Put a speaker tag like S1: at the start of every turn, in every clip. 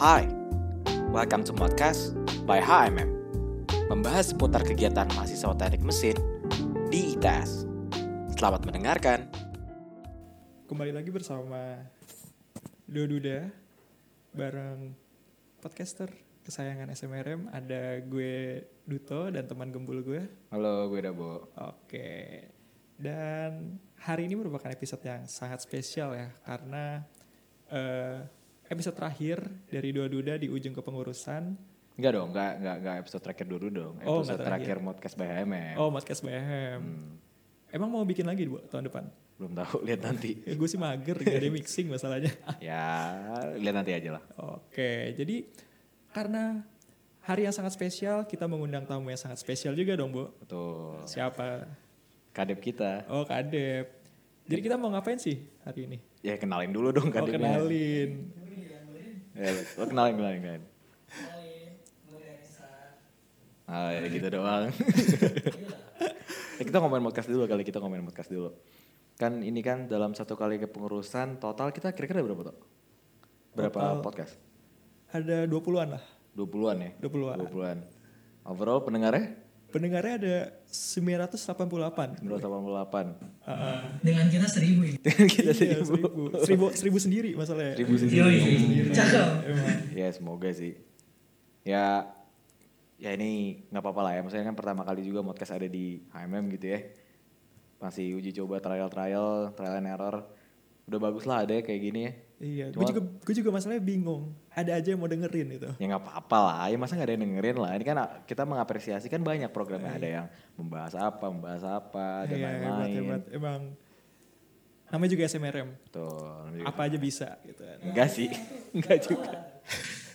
S1: Hi, welcome to podcast by HMM Membahas seputar kegiatan mahasiswa teknik mesin di ITS Selamat mendengarkan
S2: Kembali lagi bersama Doduda bareng podcaster kesayangan SMRM ada gue Duto dan teman gembul gue.
S1: Halo, gue Dabo
S2: Oke. Dan hari ini merupakan episode yang sangat spesial ya karena eh, episode terakhir dari Dua Duda di ujung kepengurusan.
S1: Enggak dong, enggak, enggak, enggak episode terakhir dulu dong
S2: Oh,
S1: Episode
S2: enggak
S1: terakhir
S2: terakhir.
S1: podcast by HMM
S2: Oh, podcast BM.
S1: Hmm,
S2: Emang mau bikin lagi Bu, tahun depan?
S1: Belum tahu, lihat nanti
S2: Ya, gue sih mager, gak ada mixing masalahnya.
S1: Ya, lihat nanti aja lah
S2: Oke, jadi karena hari yang sangat spesial, kita mengundang tamu yang sangat spesial juga dong, Bu.
S1: Betul
S2: Siapa?
S1: Kadep kita
S2: Oh, Kadep. Jadi kita mau ngapain sih hari ini?
S1: Ya kenalin dulu dong
S2: Oh,
S1: kadepnya
S2: kenalin.
S1: Ya, lo kenalin, kenalin, kenalin Ah, ya gitu doang. Ya, kita ngomongin podcast dulu kali, kita ngomongin podcast dulu. Kan ini kan dalam satu kali kepengurusan total kita kira-kira berapa tuh? Berapa
S2: Total.
S1: podcast?
S2: Ada 20-an lah.
S1: 20-an ya?
S2: 20-an.
S1: 20-an. Overall pendengarnya
S2: Pendengarnya ada 988.
S1: 188.
S3: dengan kita seribu ya.
S1: kita
S2: Iya,
S1: seribu.
S2: seribu. seribu. Seribu sendiri masalahnya.
S1: Seribu
S3: Iya,
S1: sendiri.
S3: Yoi, cakep.
S2: Emang.
S1: Ya semoga sih. Ya ya ini nggak apa-apa lah ya. Maksudnya kan pertama kali juga podcast ada di HMM gitu ya. Masih uji coba trial-trial, trial and error. Udah bagus lah ada ya kayak gini ya.
S2: Iya, gue
S1: Cuma-
S2: juga, gue juga masalahnya bingung. Ada aja yang mau dengerin gitu. itu.
S1: Ya nggak apa-apa lah, ya masa nggak ada yang dengerin lah. Ini kan ah, kita mengapresiasi kan banyak programnya ada yang membahas apa, membahas apa dan
S2: Iya, hebat, hebat.
S1: lain-lain.
S2: Emang namanya juga SMRM.
S1: Betul. namanya juga-
S2: Apa aja bisa gitu kan.
S1: Enggak sih, enggak juga.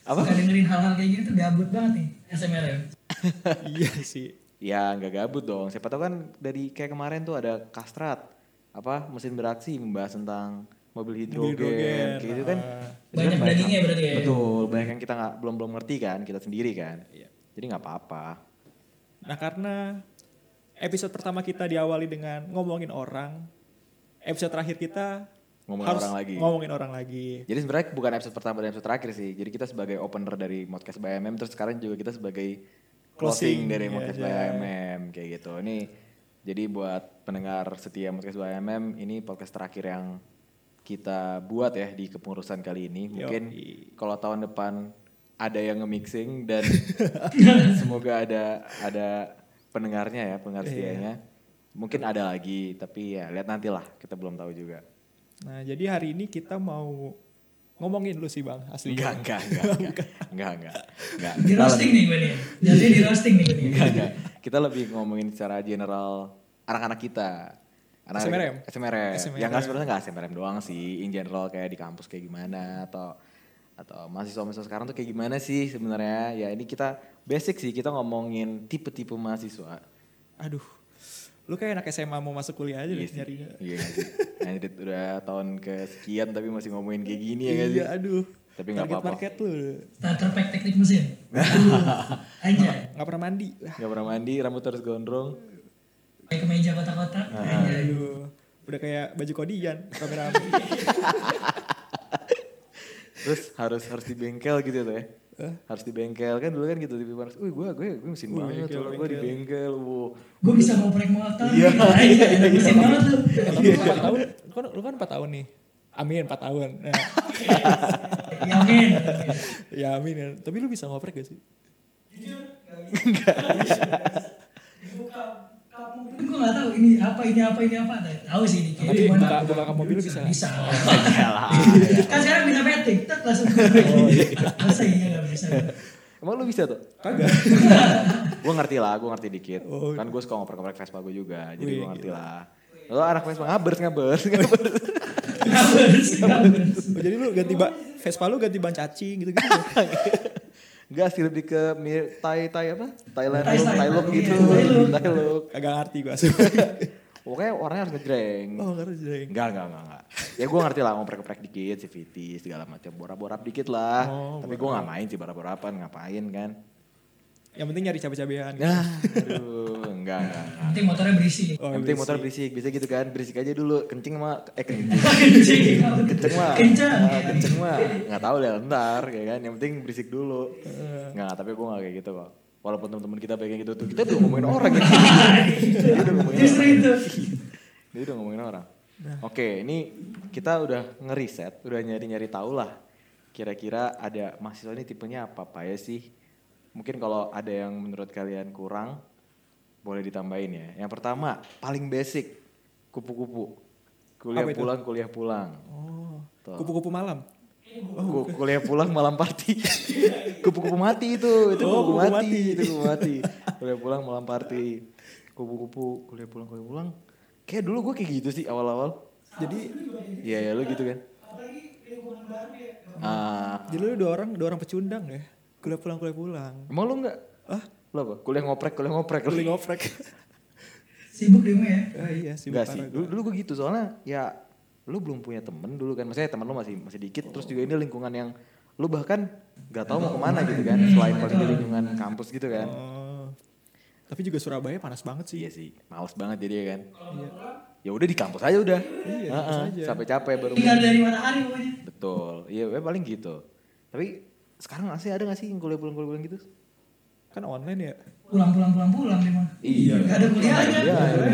S1: Apa?
S3: Suka dengerin hal-hal kayak gini tuh gabut banget nih SMRM.
S2: iya sih.
S1: Ya nggak gabut dong. Siapa tahu kan dari kayak kemarin tuh ada kastrat apa mesin beraksi membahas tentang mobil hidrogen,
S2: hidrogen,
S1: kayak gitu kan.
S2: ah.
S1: Itu kan
S3: Banyak dagingnya berarti ya.
S1: Betul, banyak yang kita nggak belum belum ngerti kan, kita sendiri kan.
S2: Iya.
S1: Jadi nggak apa-apa.
S2: Nah karena episode pertama kita diawali dengan ngomongin orang, episode terakhir kita
S1: Ngomongin
S2: harus
S1: orang lagi.
S2: ngomongin orang lagi.
S1: Jadi sebenarnya bukan episode pertama dan episode terakhir sih. Jadi kita sebagai opener dari podcast by MM terus sekarang juga kita sebagai closing,
S2: Closing,
S1: dari
S2: iya,
S1: podcast by
S2: iya.
S1: MM kayak gitu. Ini jadi buat pendengar setia podcast by MM ini podcast terakhir yang kita buat ya di kepengurusan kali ini. Mungkin
S2: Yoi.
S1: kalau tahun depan ada yang nge-mixing dan semoga ada ada pendengarnya ya,
S2: Iya.
S1: pendengar setianya. Mungkin ada lagi, tapi ya lihat nantilah. Kita belum tahu juga.
S2: Nah jadi hari ini kita mau ngomongin lu sih bang asli.
S1: Enggak, enggak, enggak, Iya. enggak, enggak, enggak, enggak. Kita
S3: Di
S1: lebih,
S3: roasting nih gue nih. Jadi di roasting nih ya. gue nih.
S1: enggak, enggak. Kita lebih ngomongin secara general anak-anak kita.
S2: SMRM?
S1: SMRM.
S2: SMRM.
S1: Yang nggak Ya, sebenarnya nggak SMRM doang sih. In general kayak di kampus kayak gimana atau atau mahasiswa-mahasiswa sekarang tuh kayak gimana sih sebenarnya? Ya ini kita basic sih kita ngomongin tipe-tipe mahasiswa.
S2: Aduh, lu kayak anak SMA mau masuk kuliah aja deh
S1: sih.
S2: nyarinya.
S1: Iya nggak sih? Anjrit, udah tahun kesekian tapi masih ngomongin kayak gini ya nggak sih?
S2: Iya, aduh.
S1: Tapi nggak
S2: Target
S1: apa-apa.
S2: market lu
S3: Starter pack teknik mesin. Aja.
S2: nggak pernah mandi.
S1: Gak pernah mandi, rambut harus gondrong.
S3: Pakai kemeja kotak-kotak. Aja.
S2: Aduh, udah kayak baju kodian kamera.
S1: terus harus harus di bengkel gitu tuh ya harus di bengkel kan dulu kan gitu di panas wih gue gue gue mesin
S2: Wih,
S1: banget
S2: bengkel,
S1: tuh gue di bengkel wow
S3: Gue bisa ngoprek motor. Iya. Aja. Mesin banget tuh.
S2: lu kan empat tahun, lu kan, lu kan empat tahun nih. Amin empat tahun. Nah,
S3: Yamin.
S2: ya amin. ya. Tapi lu bisa ngoprek gak sih?
S3: Gue gak tau ini apa, ini apa, ini apa. Tahu sih dikit.
S2: Tapi
S3: Cuman
S2: buka, buka kap mobil lu bisa.
S3: Bisa.
S1: Ya lah.
S3: Kan sekarang minta metik. Tet langsung. Oh, iya. Masa iya gak bisa.
S1: emang lu bisa tuh
S2: Kagak.
S1: gue ngerti lah gue ngerti dikit
S2: Oh,
S1: kan gue suka ngoprek-ngoprek Vespa gue juga jadi
S2: Wih,
S1: gue ngerti lah lo anak Vespa ngabers ngabers ngabers
S3: Ngabers, ngabers.
S2: Oh, jadi lu ganti ba Vespa lu ganti ban cacing gitu gitu.
S1: Enggak sih lebih ke mir Thai Thai apa Thailand
S3: Thai-
S1: look,
S3: Thai-
S1: Thai look
S3: iya,
S1: gitu
S3: Thai look.
S1: Thai look
S2: Kagak ngerti gua sih.
S1: pokoknya orangnya harus ngejreng
S2: Oh, ngerti jeng.
S1: Enggak, enggak, enggak, enggak. Ya gue ngerti lah ngoprek-ngoprek dikit, CVT, segala macam, bora-borap dikit lah.
S2: Oh,
S1: Tapi gue nggak main sih bora-borapan, ngapain kan.
S2: Yang penting nyari cabai-cabean. gitu.
S1: Nah, aduh, enggak, enggak. enggak.
S3: Nanti motornya berisi.
S2: Oh,
S1: yang penting motor
S2: berisik.
S1: berisik, biasanya gitu kan, berisik aja dulu, kencing mah, eh kencing,
S3: Kencing.
S1: kenceng mah,
S3: Kencang.
S1: Ah, kenceng mah, nggak tahu deh ntar, ya kan, yang penting berisik dulu, nggak, tapi gue nggak kayak gitu kok, walaupun teman-teman kita pengen gitu tuh, kita tuh ngomongin orang ya, Dia udah ngomongin
S3: Justru
S1: orang.
S3: itu.
S1: Dia udah ngomongin orang.
S2: Nah.
S1: Oke, ini kita udah ngeriset, udah nyari-nyari tahu lah. Kira-kira ada mahasiswa ini tipenya apa apa ya sih? Mungkin kalau ada yang menurut kalian kurang, boleh ditambahin ya. Yang pertama, paling basic, kupu-kupu. Kuliah
S2: Apa itu?
S1: pulang, kuliah pulang.
S2: Oh,
S1: Tuh.
S2: kupu-kupu malam.
S1: Ku- kuliah pulang malam party. kupu-kupu mati itu, itu
S2: Oh,
S1: kupu-kupu
S2: kupu
S1: mati,
S2: mati.
S1: itu kupu mati. kuliah pulang malam party. Kupu-kupu, kuliah pulang, kuliah pulang. Kayak dulu gue kayak gitu sih awal-awal.
S2: Jadi
S1: Iya ya lu gitu kan. Ah,
S2: jadi lu dua orang dua orang pecundang ya. Kuliah pulang kuliah pulang.
S1: emang lu nggak?
S2: Ah,
S1: Lu apa? Kuliah ngoprek, kuliah ngoprek. lu.
S2: kuliah ngoprek.
S3: Sibuk demo ya.
S2: ah, iya sih.
S1: Nggak sih.
S2: parah
S1: Dulu,
S2: gua.
S1: dulu gue gitu soalnya ya lu belum punya temen dulu kan. Maksudnya temen lu masih masih dikit. Terus juga ini lingkungan yang lu bahkan nggak tahu mau kemana gitu kan. Selain paling di lingkungan kampus gitu kan.
S2: Oh. Tapi juga Surabaya panas banget sih.
S1: Iya sih, males banget jadi ya kan. Ya udah di kampus aja udah.
S2: Iya,
S1: Ah,
S2: kampus
S1: ah,
S2: aja.
S1: Sampai capek baru.
S3: Tinggal dari matahari pokoknya.
S1: Betul. Iya, gue paling gitu. Tapi sekarang masih ada gak sih yang kuliah pulang-kuliah pulang gitu?
S2: Kan online ya.
S3: Pulang pulang pulang pulang demo.
S1: Iya.
S3: Gak ada kuliahnya.
S1: Iya, iya.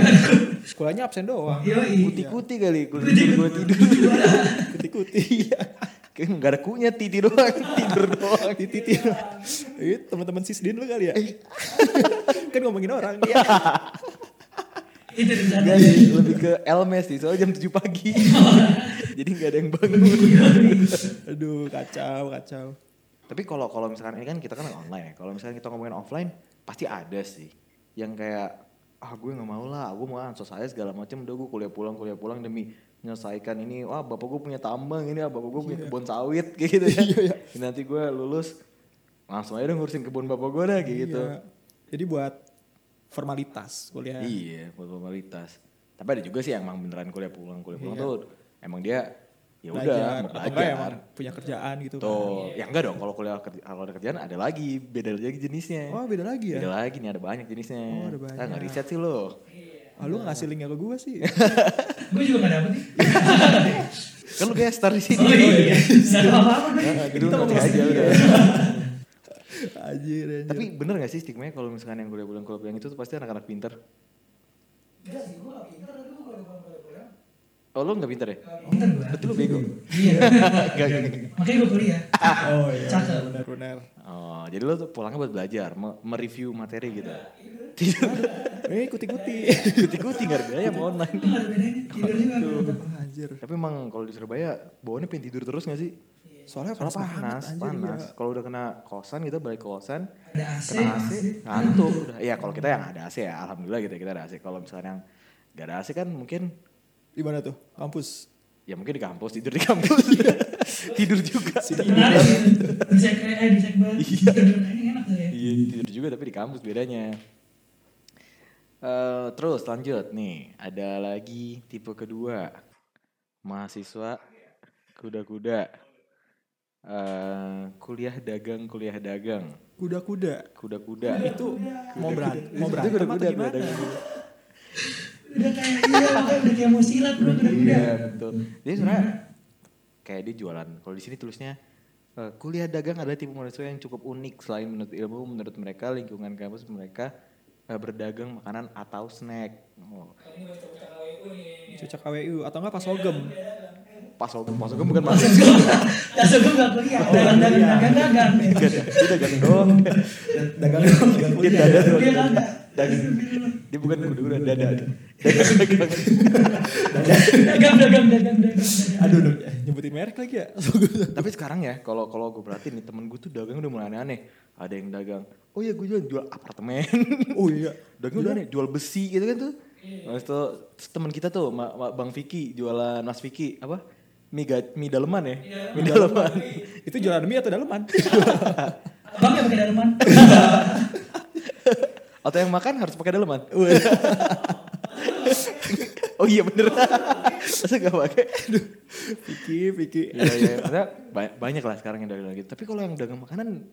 S2: Sekolahnya absen doang.
S3: Yoi.
S1: Kuti-kuti kali kulit tidur gue tidur.
S2: Kuti-kuti.
S1: Kayak nggak ada kunya titi doang, tidur doang.
S2: Titi Itu Iya, teman-teman sisdin lu kali ya.
S1: Iya.
S2: kan ngomongin orang ya.
S3: Itu rencana.
S1: Nggak sih, Iya, lebih ke Elmes sih, soalnya jam 7 pagi. Jadi nggak ada yang bangun.
S2: Aduh, kacau, kacau.
S1: Tapi kalau kalau misalkan ini kan kita kan online ya. Kalau misalkan kita ngomongin offline, pasti ada sih yang kayak ah gue nggak mau lah, gue mau ansos saya segala macam, udah gue kuliah pulang kuliah pulang demi menyelesaikan ini. Wah bapak gue punya tambang ini, ah bapak gue
S2: Iya.
S1: punya kebun sawit kayak gitu ya. Nanti gue lulus langsung aja deh ngurusin kebun bapak gue dah kayak gitu.
S2: Iya. Jadi buat formalitas kuliah.
S1: Iya, buat formalitas. Tapi ada juga sih yang emang beneran kuliah pulang, kuliah pulang tuh emang dia ya udah mau
S2: Iya. atau enggak ya,
S1: belajar.
S2: emang punya kerjaan gitu kan.
S1: Tuh, ya enggak dong kalau kuliah kerja- kalau ada kerjaan ada lagi, beda lagi jenisnya.
S2: Oh, beda lagi ya.
S1: Beda lagi nih ada banyak jenisnya.
S2: Oh, ada
S1: Ah, nggak
S2: banyak.
S1: riset sih lo.
S2: Ah, lu ngasih linknya ke gua sih.
S3: Gue juga gak dapet nih.
S1: Iya. Kan lu guest star di sini.
S3: Oh iya. Gak ada apa-apa gue.
S1: Jadi lu nanti aja
S2: Iya,
S1: udah.
S2: anjir, anjir.
S1: Tapi bener gak sih stigma kalau misalkan yang kuliah pulang kuliah pulang itu tuh pasti anak-anak pinter?
S3: Enggak sih, gue gak pinter. Tapi gue gak boleh-boleh.
S1: Oh lu gak pinter ya?
S3: Pinter gue.
S1: Berarti lu bego.
S3: Iya.
S1: Gak, gak, gak.
S3: Makanya gue kuliah.
S2: oh iya.
S3: Cakep.
S2: Benar, benar.
S1: Oh, jadi lu tuh pulangnya buat belajar, me- mereview materi gitu.
S3: Iya,
S1: Tidur.
S2: Eh, ikuti-ikuti.
S1: Ikuti-ikuti gak ada bedanya sama online.
S3: Itu gak ada bedanya. Tidur juga.
S2: Ah, anjir.
S1: Tapi emang kalau di Surabaya bawaannya pengen tidur terus gak sih?
S3: Iya.
S2: Soalnya
S1: Soalnya
S2: panas
S1: panas,
S2: banget, anjir,
S1: panas.
S2: iya.
S1: Kalau udah kena kosan kita balik ke kosan,
S3: Ada AC.
S1: kena AC, Nah, ngantuk. Udah. Iya kalau kita yang ada AC ya alhamdulillah gitu ya, kita ada AC. Kalau misalnya yang gak ada AC kan mungkin
S2: Di mana tuh? Kampus.
S1: ya mungkin di kampus tidur di kampus tidur juga
S3: Menarik sih. Di sekre, eh di sekber. Tidur ini enak tuh ya.
S1: iya tidur juga tapi di kampus bedanya Eh, terus lanjut nih ada lagi tipe kedua mahasiswa kuda-kuda Eh, kuliah dagang kuliah dagang
S2: Kuda-kuda.
S1: kuda-kuda
S2: Itu mau berantem, mau
S1: Itu
S2: berantem atau
S1: kuda-kuda,
S2: gimana?
S1: kuda-kuda.
S3: Udah kayak iya makanya udah kayak mau silat bro. Udah-udah.
S1: Iya betul. Jadi sebenarnya kayak dia jualan. Kalau di sini tulisnya eh, kuliah dagang adalah tipe mahasiswa yang cukup unik selain menurut ilmu menurut mereka lingkungan kampus mereka eh, berdagang makanan atau snack. Oh.
S2: Cocok KWU atau enggak pas sogem.
S1: Pas waktu pas waktu bukan mahasiswa.
S3: Iya. Dasar gue gak kuliah.
S1: Oh, iya.
S3: Dagang-dagang. Dagang-dagang.
S1: dia dagang doang.
S2: Dagang doang,
S1: Dia dada doang.
S3: Dia dagang.
S1: Dagang. Dia bukan kuda-kuda dada. Dagang dagang.
S3: Dagang-dagang. Dagang-dagang.
S2: Aduh, aduh, nyebutin merek lagi ya. Sogem.
S1: Tapi sekarang ya, kalau kalau gue perhatiin nih temen gue tuh dagang udah mulai aneh-aneh. Ada yang dagang, oh iya gue jual jual apartemen.
S2: Oh iya.
S1: dagang udah aneh, jual besi gitu kan tuh. Terus tuh terus temen kita tuh, Ma- Ma- Bang Vicky jualan Mas Vicky apa? Mie, ga, mie daleman ya?
S2: Iya.
S1: Mie daleman.
S2: Itu jualan mie atau daleman?
S3: Bang ya pakai daleman.
S1: Atau yang makan harus pakai daleman. oh iya bener. Masa gak pakai? Aduh.
S2: Piki, Piki.
S1: Iya, iya. Maksudnya ba- banyak lah sekarang yang dagang gitu. Tapi kalau yang dagang makanan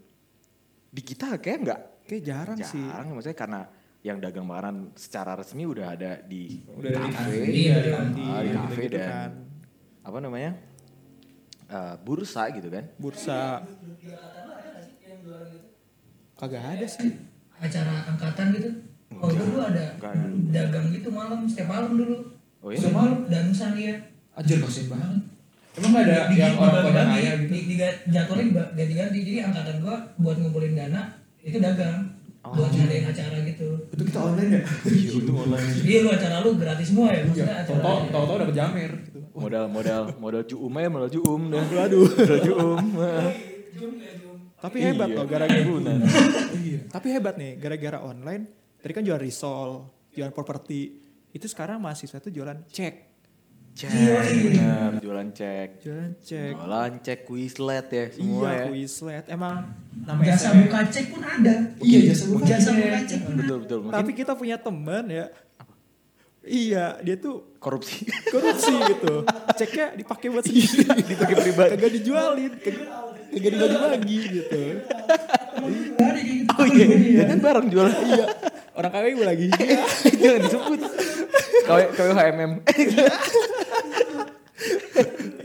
S1: di kita kayak nggak
S2: Kayak jarang, sih.
S1: Jarang maksudnya karena yang dagang makanan secara resmi udah ada di
S2: Udah ada di
S1: kafe,
S3: Iya, di
S2: kantin,
S1: ah, di kafe
S2: gitu-gitu
S1: dan
S2: kan.
S1: apa namanya eh, bursa gitu kan?
S2: Bursa. Kagak ada sih.
S3: acara angkatan gitu oh dulu ada
S1: Enggak ada.
S3: dagang gitu malam setiap malam dulu
S1: Oh iya?
S3: setiap malam danusan iya. dia
S4: Anjir maksud banget. Emang gak ada yang orang kota
S3: dibagi-bagi,
S4: kaya gitu?
S3: di, di, jatuhnya dibagi- ganti-ganti jadi angkatan gua buat ngumpulin dana itu dagang
S1: Oh.
S3: buat ngadain acara gitu
S4: Itu kita online ya? Iya itu online.
S3: Iya lu acara lu gratis semua ya maksudnya acara
S4: Tau-tau tau-tau dapet jamer. gitu.
S1: Modal modal modal juum aja modal juum dah. Waduh, modal juum.
S2: Tapi hebat
S1: Iya.
S2: loh gara-gara
S4: Iya.
S2: Tapi hebat nih gara-gara online. Tadi kan jualan risol, jualan properti. Itu sekarang mahasiswa tuh jualan cek.
S1: Cek, bener, jualan cek.
S2: Jualan cek.
S1: Jualan cek Quizlet ya semua
S2: iya,
S1: ya.
S2: Quizlet. Emang namanya
S3: Hmm. jasa
S2: SMS.
S3: buka cek pun ada
S4: Iya jasa buka
S3: jasa
S4: cek.
S3: buka cek pun ada
S1: Betul betul. Mungkin
S2: Tapi kita punya temen ya. Iya, dia tuh
S1: korupsi
S2: korupsi gitu. Ceknya dipakai buat sendiri,
S1: dipakai pribadi.
S2: kagak dijualin, kagak, kagak dibagi-bagi gitu.
S3: Nggak ada kayak gitu
S1: Oh iya, iya. kan bareng jualan. Iya.
S2: Orang kaya gue lagi.
S1: Jangan disebut. Kau kau HMM.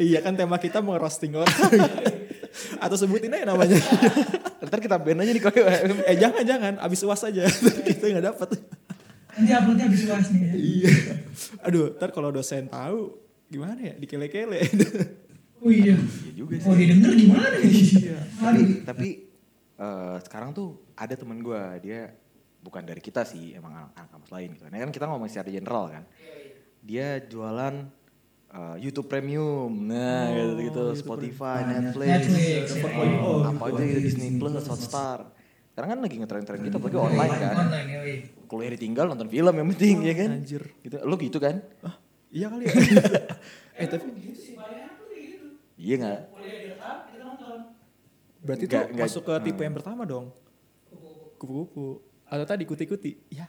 S2: iya kan tema kita mau roasting orang. Atau sebutin aja namanya.
S1: Ntar kita band aja di kau HMM.
S2: eh jangan jangan, abis uas aja. kita nggak dapat.
S3: nanti uploadnya habis uas nih ya
S2: iya. Aduh, ntar kalau dosen tahu gimana ya dikele-kele.
S3: oh iya
S1: Iya juga
S3: oh dia denger gimana nih Hari.
S1: tapi eh, sekarang tuh ada temen gue dia bukan dari kita sih emang anak, anak kampus lain gitu. Nah kan kita ngomong secara general kan. Dia jualan eh, YouTube Premium, nah gitu, gitu Spotify, Netflix,
S3: Netflix,
S1: apa
S3: ya.
S1: oh, apa aja gitu, Disney Plus, Hotstar. Sekarang kan lagi ngetren-tren gitu,
S3: Iya,
S1: apalagi online kan.
S3: online ya iya.
S1: Kuliah ditinggal nonton film yang penting ya kan.
S2: Anjir.
S1: Gitu, lo gitu kan?
S2: iya kali ya. eh tapi
S1: Iya nggak?
S2: berarti
S1: Nggak-
S2: tuh
S1: nggak-
S2: masuk ke tipe yang pertama dong. Hmm. Kupu-kupu. Atau tadi kuti-kuti. Ya.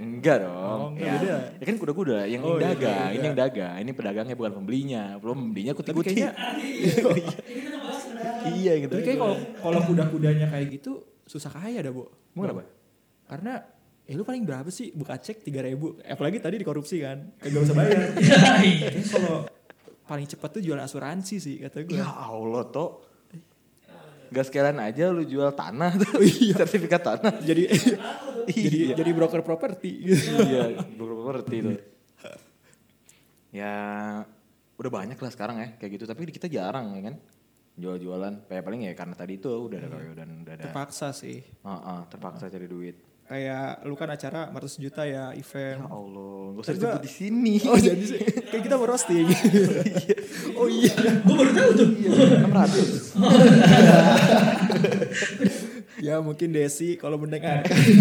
S1: Enggak
S2: Oh,
S1: dong.
S2: enggak,
S1: ya.
S2: beda.
S1: ya kan kuda-kuda yang
S2: Oh,
S1: ini
S2: iya,
S1: dagang,
S2: iya,
S1: ini
S2: iya.
S1: yang dagang, ini pedagangnya bukan pembelinya. Belum pembelinya
S2: Tapi
S1: kuti-kuti.
S2: kayaknya
S1: iya gitu.
S2: Tapi kayak kalau kalau kuda-kudanya kayak gitu susah kaya dah, Bu.
S1: Emang kenapa?
S2: Karena eh lu paling berapa sih buka cek 3000. Apalagi tadi dikorupsi kan. Kagak usah bayar. Tapi kalau paling cepat tuh jualan asuransi sih kata gue.
S1: Ya Allah, Tok. Gak sekalian aja lu jual tanah tuh. iya. Sertifikat tanah.
S2: Jadi jadi
S1: Iya.
S2: jadi broker properti gitu.
S1: iya, belum ngerti tuh. Ya udah banyak lah sekarang ya kayak gitu tapi kita jarang ya kan jual-jualan kayak paling ya karena tadi itu udah ada dan udah ada
S2: Terpaksa sih.
S1: Heeh, terpaksa cari duit
S2: Kayak lu kan acara 100 juta
S1: ya
S2: ya event.
S1: Allah gak usah
S2: Terus
S1: disebut
S2: gua-
S1: di sini
S2: Oh jadi sih. kayak kita mau roasting. oh iya.
S3: gue baru tahu tuh
S1: Kan 600
S2: Ya mungkin Desi kalau mendengar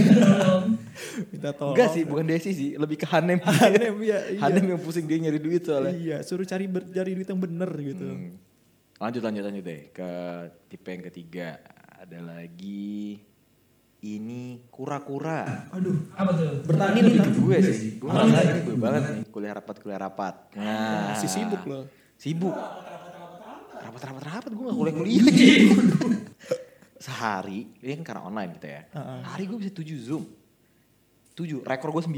S2: minta
S1: Nah.
S2: tolong.
S1: Enggak sih, bukan Desi sih, lebih ke Hanem.
S2: Oh. Hanem ya. Iya.
S1: Hanem yang pusing dia nyari duit soalnya.
S2: Iya, suruh cari ber- cari duit yang bener gitu.
S1: Hmm. Lanjut lanjut lanjut deh ke tipe yang ketiga ada lagi ini kura-kura.
S2: Aduh,
S3: apa tuh
S1: Ini lebih ke gue sih. Gue merasa ini gue banget nih kuliah rapat kuliah rapat. Nah,
S2: si sibuk loh.
S1: Sibuk. Rapat rapat rapat gue gak kuliah kuliah. jadi. Sehari, ini kan karena online kita ya.
S2: Heeh.
S1: Hari gue bisa 7 zoom. 7, rekor gue 9. 9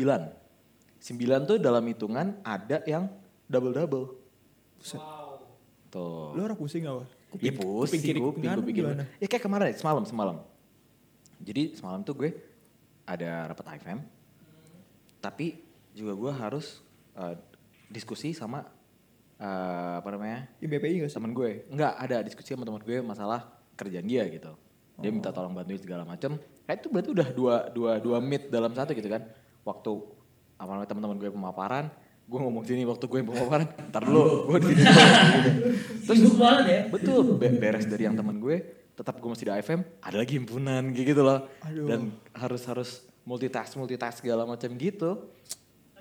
S1: tuh dalam hitungan ada yang double-double.
S2: Buset.
S1: Tuh.
S2: Lu orang pusing gak, Wah?
S1: Iya pusing,
S2: kiri,
S1: kuping,
S2: kanan
S1: kuping kiri.
S2: gimana?
S1: Ya kayak kemarin, semalam, semalam. Jadi semalam tuh gue ada rapat IFM, tapi juga gue harus eh, diskusi sama eh, apa namanya
S2: Ya, BPI gak sih?
S1: teman gue. Enggak ada diskusi sama teman gue masalah kerjaan dia gitu. Dia
S2: Oh.
S1: minta tolong bantuin segala macem. Kayak itu berarti udah dua dua dua meet dalam satu gitu kan. Waktu apa namanya teman-teman gue pemaparan, gue ngomong sini waktu gue pemaparan. Ntar dulu, gue di sini. gitu. Terus
S3: sibuk banget ya
S1: Betul, be- beres dari yang teman gue, tetap gue masih di AFM, ada lagi himpunan kayak gitu loh.
S2: Aduh.
S1: Dan harus harus multitask multitask segala macam gitu.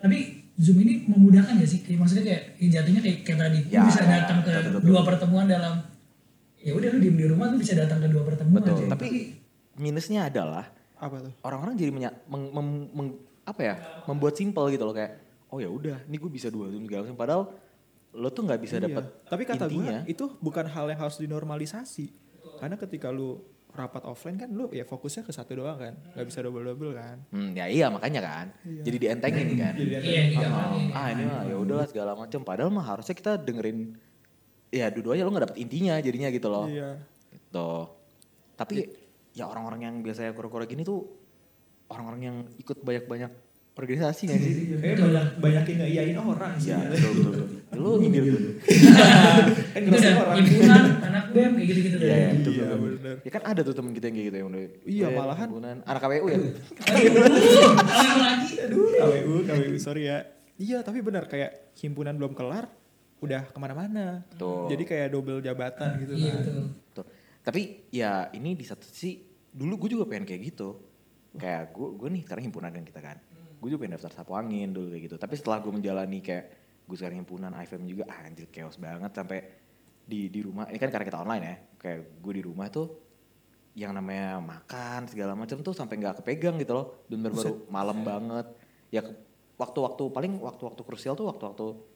S3: tapi Zoom ini memudahkan ya sih? Kayak maksudnya kayak ya jatuhnya kayak, kayak tadi lu
S1: Ya,
S3: bisa datang ke
S1: betul, betul,
S3: dua pertemuan dalam ya udah lu diem di rumah tuh bisa datang ke dua pertemuan.
S1: Betul.
S3: aja.
S1: Tapi minusnya adalah
S2: Apa tuh?
S1: orang-orang jadi menya- meng- mem- meng- apa ya? membuat simpel gitu loh kayak oh ya udah, ini gue bisa dua zoom segala macam padahal lo tuh nggak bisa
S2: Iya.
S1: dapat
S2: Tapi kata gue,
S1: intinya.
S2: itu bukan hal yang harus dinormalisasi. Karena ketika lu rapat offline kan lu ya fokusnya ke satu doang kan nggak bisa double double kan
S1: Hmm, ya iya makanya kan.
S2: Iya.
S1: Jadi dientengin kan.
S2: jadi ada
S3: Iya, tiga
S1: Oh,
S3: kali.
S1: ah ini mah ya udahlah segala macam. Padahal mah harusnya kita dengerin ya dua-duanya lo nggak dapet intinya jadinya gitu loh.
S2: iya
S1: Gitu. Tapi ya orang-orang yang biasanya kura-kura gini tuh orang-orang yang ikut banyak-banyak organisasi nggak sih?
S2: Kayaknya banyak banyakin ngeiyain orang sih
S1: Iya, betul betul. betul. Lu nyindir tuh.
S2: kan
S3: itu
S2: ngerasain
S3: udah
S2: orang
S3: himpunan anak BEM kayak gitu-gitu
S1: Iya,
S3: deh.
S1: betul,
S2: Iya,
S1: betul.
S2: bener.
S1: Ya kan ada tuh temen kita yang kayak gitu yang udah.
S2: Iya,
S1: udah
S2: malahan.
S1: himpunan. anak KPU ya.
S3: Aduh, kalau lagi
S2: aduh KWU KWU sorry ya iya tapi benar kayak himpunan belum kelar udah kemana-mana
S1: Betul.
S2: jadi kayak double jabatan gitu
S3: Iya
S2: kan
S3: betul.
S1: Betul. Tapi ya ini di satu sisi dulu gue juga pengen kayak gitu. Kayak gue gue nih sekarang himpunan kan kita kan. Gue juga pengen daftar sapu angin dulu kayak gitu. Tapi setelah gue menjalani kayak gue sekarang himpunan IFM juga ah, anjir chaos banget sampai di di rumah ini kan karena kita online ya. Kayak gue di rumah tuh yang namanya makan segala macam tuh sampai nggak kepegang gitu loh. Dan baru malam banget. Ya ke- waktu-waktu paling waktu-waktu krusial tuh waktu-waktu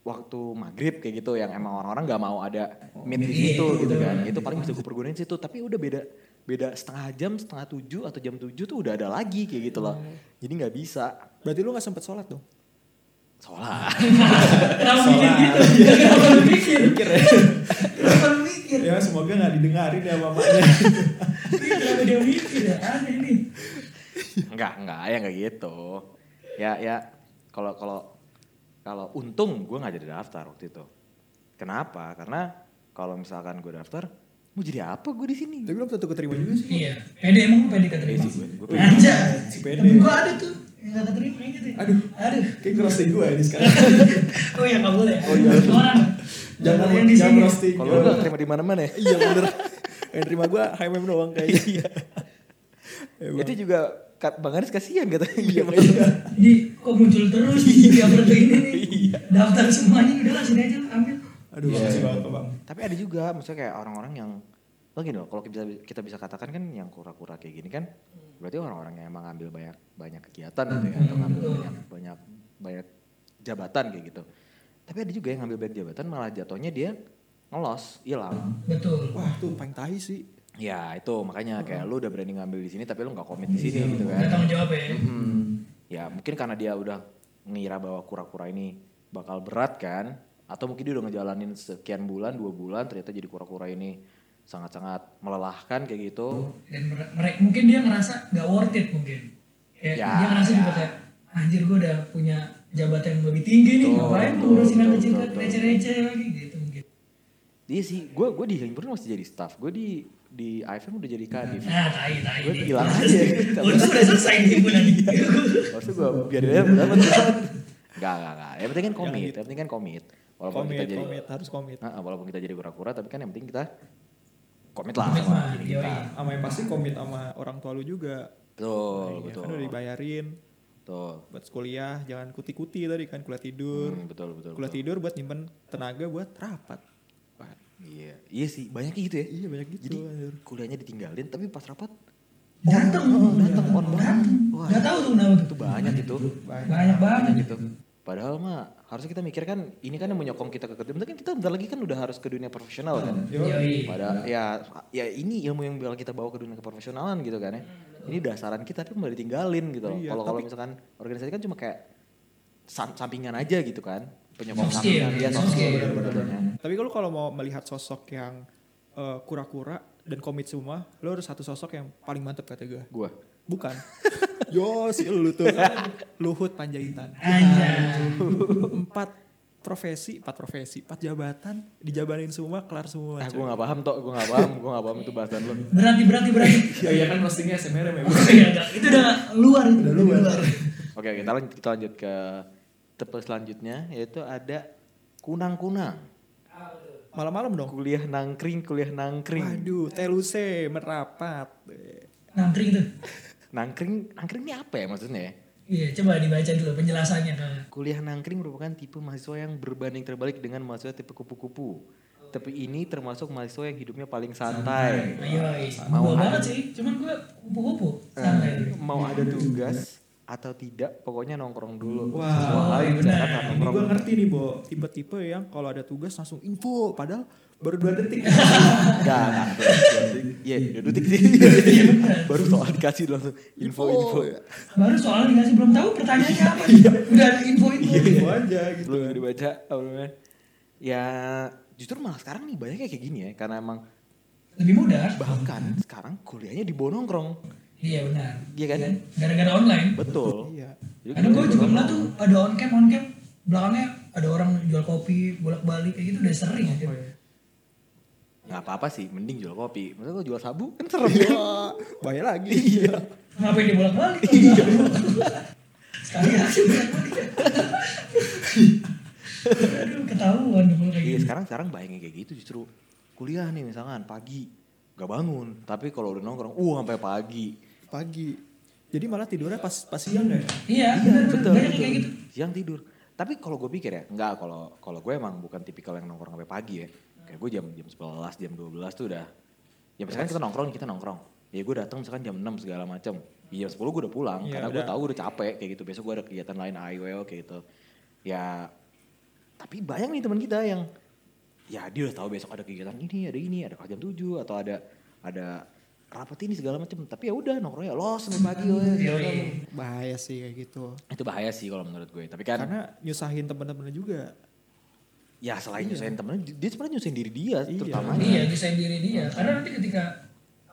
S1: waktu maghrib kayak gitu yang emang orang-orang nggak mau ada
S2: Oh,
S1: meet di situ gitu kan itu paling bisa gue pergunain situ tapi udah beda beda setengah jam setengah tujuh atau jam tujuh tuh udah ada lagi kayak gitu loh
S2: Hmm.
S1: jadi nggak bisa
S2: berarti lu nggak sempet sholat dong
S1: sholat
S3: Kenapa mikir gitu? Kenapa lu mikir? ya. Kenapa lu mikir?
S2: ya semoga nggak didengarin ya mamanya
S3: Iya, Kenapa dia mikir ya? Aneh nih.
S1: nggak nggak ya nggak gitu ya ya kalau kalau kalau untung gue nggak jadi daftar waktu itu kenapa karena kalau misalkan gue daftar mau jadi apa gue di sini
S2: tapi belum tentu keterima juga sih
S3: Iya. Pede emang pede keterima. Anjay.
S2: Si pede.
S3: Temen gua ada tuh yang gak keterima yang gitu. ya.
S2: Aduh.
S3: Aduh.
S2: kayak ngerosting gue ini ya sekarang
S3: Oh iya nggak boleh. Oh iya. Orang.
S2: jangan
S3: Yang di
S2: jangan
S3: sini.
S2: roasting
S1: kalau
S2: gue.
S1: lu nggak terima di mana-mana ya
S2: iya bener yang terima gue HMM doang Ya, kayaknya Emang.
S1: Iya. itu juga Kak- Bang Aris kasihan katanya
S2: Iya,
S1: Gimana?
S2: iya.
S3: Ini kok muncul terus di tiap berita ini nih.
S2: Iya.
S3: Daftar semuanya udah lah sini aja ambil.
S2: aduh
S1: Iya.
S2: makasih banget Bang
S1: Tapi ada juga maksudnya kayak orang-orang yang lagi loh kalau kita kita bisa katakan kan yang kura-kura kayak gini kan berarti orang-orang yang emang ngambil banyak banyak kegiatan gitu ya atau ngambil banyak banyak banyak jabatan kayak gitu. Tapi ada juga yang ngambil banyak jabatan malah jatuhnya dia ngelos, hilang.
S3: Betul.
S2: wah tuh paling tai sih
S1: Ya itu makanya kayak lu udah berani ngambil di sini tapi lu nggak komit di sini gitu kan.
S3: Gak tanggung jawab ya.
S1: Hmm. Ya mungkin karena dia udah ngira bahwa kura-kura ini bakal berat kan. Atau mungkin dia udah ngejalanin sekian bulan, dua bulan ternyata jadi kura-kura ini sangat-sangat melelahkan kayak gitu.
S3: dan mereka mungkin dia ngerasa nggak worth it mungkin ya,
S1: Ya,
S3: dia ngerasa juga
S1: ya.
S3: kayak anjir gue udah punya jabatan yang lebih tinggi nih
S1: Betul,
S3: ngapain
S1: betul,
S3: ngurusin yang
S1: betul,
S3: kecil
S1: betul, betul.
S3: receh-receh lagi gitu mungkin
S1: Iya sih, gue gue di Himpunan masih jadi staff. Gue di di IFM udah jadi kadif.
S3: nah tai tai
S1: Gua
S3: nih.
S1: bilang aja. gitu. Iya.
S3: untung udah selesai nih bulan ini
S1: Maksudnya gue biar dia dapat dapat. Gak gak gak. Yang penting kan komit. Yang penting kan komit. Walaupun
S2: komit
S1: kita jadi
S2: komit harus komit
S1: Nah, walaupun kita jadi kura-kura, tapi kan yang penting kita komit lah
S3: Komit lah,
S1: sama diri kita.
S3: yoi.
S2: sama yang pasti komit sama orang tua lu juga
S1: Betul,
S2: Iya,
S1: betul,
S2: kan udah dibayarin
S1: betul.
S2: buat kuliah jangan kuti-kuti tadi kan kuliah tidur
S1: Hmm, betul, betul,
S2: kuliah tidur buat nyimpen tenaga buat rapat Wah,
S1: Iya, iya sih banyak gitu ya.
S2: iya banyak gitu
S1: Jadi
S2: anjir.
S1: kuliahnya ditinggalin tapi pas rapat
S3: datang
S1: datang on banget. Wah,
S3: nggak tahu tuh kenapa
S1: itu
S3: tuh
S1: banyak itu.
S3: banyak banget
S1: Gitu. Padahal mah harusnya kita mikir kan ini kan yang menyokong kita ke kerja. Bentar kan kita bentar lagi kan udah harus ke dunia profesional kan.
S2: Hmm,
S3: Yoi.
S1: Padahal ya ya ini ilmu yang bakal kita bawa ke dunia keprofesionalan gitu kan ya.
S3: Hmm,
S1: Ini dasaran kita tapi malah ditinggalin gitu loh.
S2: Iya,
S1: Kalau kalau
S2: tapi-
S1: misalkan organisasi kan cuma kayak sam- sampingan aja gitu kan. Penyokong
S3: Soft
S1: sampingan
S3: skill,
S1: dia
S3: soft
S1: soft
S3: skill,
S1: skill,
S3: benar-benar.
S1: betul-betulnya.
S2: tapi kalau kalau mau melihat sosok yang eh, kura-kura dan komit semua lo harus satu sosok yang paling mantep kata gue
S1: Gua.
S2: bukan yo si lu tuh luhut panjaitan
S3: anjay
S2: empat profesi empat profesi empat jabatan dijabanin semua kelar semua
S1: Ah,
S2: coy.
S1: gua gak paham tok, gua gak paham, gua gak paham itu bahasan lu.
S3: berarti berarti berarti
S4: Ya iya kan roastingnya SMRM ya.
S3: Iya, nggak. itu udah luar itu udah luar
S1: Oke, oke, kita lanjut, kita lanjut ke tipe selanjutnya yaitu ada kunang-kunang.
S2: malam-malam dong
S1: Kuliah nangkring, kuliah nangkring.
S2: Waduh, teluse merapat.
S3: nangkring tuh
S1: Nangkring, nangkring ini apa ya maksudnya? ya?
S3: iya coba dibaca dulu penjelasannya kak
S1: Kuliah nangkring merupakan tipe mahasiswa yang berbanding terbalik dengan mahasiswa tipe kupu-kupu. Tapi ini termasuk mahasiswa yang hidupnya paling santai.
S3: Iya,
S1: Ah, Mau Eh.
S3: mau
S1: ada-
S3: banget sih. Cuman gue kupu-kupu. Santai.
S1: Mau ada tugas, atau tidak pokoknya nongkrong dulu.
S2: Wah, iya,
S1: Semua hal yang di
S3: benar.
S1: Jakarta,
S2: Ini
S1: nongkrong
S2: gue
S1: dulu.
S2: ngerti nih, Bo. Tipe-tipe yang kalau ada tugas langsung info, padahal baru dua detik.
S1: Enggak, enggak. Iya, dua detik sih. Baru soal dikasih langsung info-info.
S3: Baru soal dikasih belum tahu pertanyaannya apa. Udah ada info-info.
S2: Info aja gitu.
S1: Belum dibaca apa namanya. Ya justru malah sekarang nih banyaknya kayak gini ya karena emang
S3: Lebih mudah.
S1: bahkan sekarang kuliahnya di bawah nongkrong.
S3: Iya benar.
S1: Iya kan?
S3: Gara-gara online.
S1: Betul.
S2: Iya.
S1: Jadi
S3: Kadang gue
S1: kuliahnya di
S3: juga
S1: bawah
S3: ngeliat
S1: nongkrong.
S3: tuh ada on cam on cam belakangnya ada orang jual kopi bolak-balik kayak gitu udah sering aja.
S2: Oh, iya.
S1: Nggak apa-apa sih, mending jual kopi. Maksudnya kalau jual sabu kan serem ya.
S2: Bahaya lagi. Iya.
S3: Ngapain dia bolak-balik? Iya. Sekali aja bolak-balik. Aduh ketahuan dong kalau kayak
S1: Iya
S3: gitu.
S1: sekarang sekarang bayangin kayak gitu justru kuliah nih misalkan pagi gak bangun tapi kalau udah nongkrong uh sampai pagi
S2: Pagi. Jadi malah tidurnya pas pas siang ya.
S3: Iya, benar benar banyak yang kayak gitu.
S1: siang tidur tapi kalau gue pikir ya nggak kalau kalau gue emang bukan tipikal yang nongkrong sampai pagi ya kayak gue jam jam 11 jam 12 tuh udah ya misalkan kita nongkrong kita nongkrong ya gue datang misalkan jam 6 segala macam ya jam 10 gue udah pulang
S2: Iya,
S1: karena gue
S2: udah.
S1: tahu udah capek kayak gitu besok gue ada kegiatan lain AIWO kayak gitu ya tapi banyak nih teman kita yang ya dia udah tahu besok ada kegiatan ini ada ini ada kelas jam 7 atau ada ada rapat ini segala macam tapi ya udah nongkrongnya los sampai pagi
S2: Iya.
S1: weh.
S3: Yoi.
S2: Bahaya sih kayak gitu.
S1: itu bahaya sih kalau menurut gue tapi kan
S2: Karena nyusahin temen-temennya juga.
S1: Ya selain nyusahin temennya, dia sebenarnya nyusahin diri dia
S2: Iya.
S1: terutamanya.
S3: Iya, nyusahin diri dia. Karena nanti ketika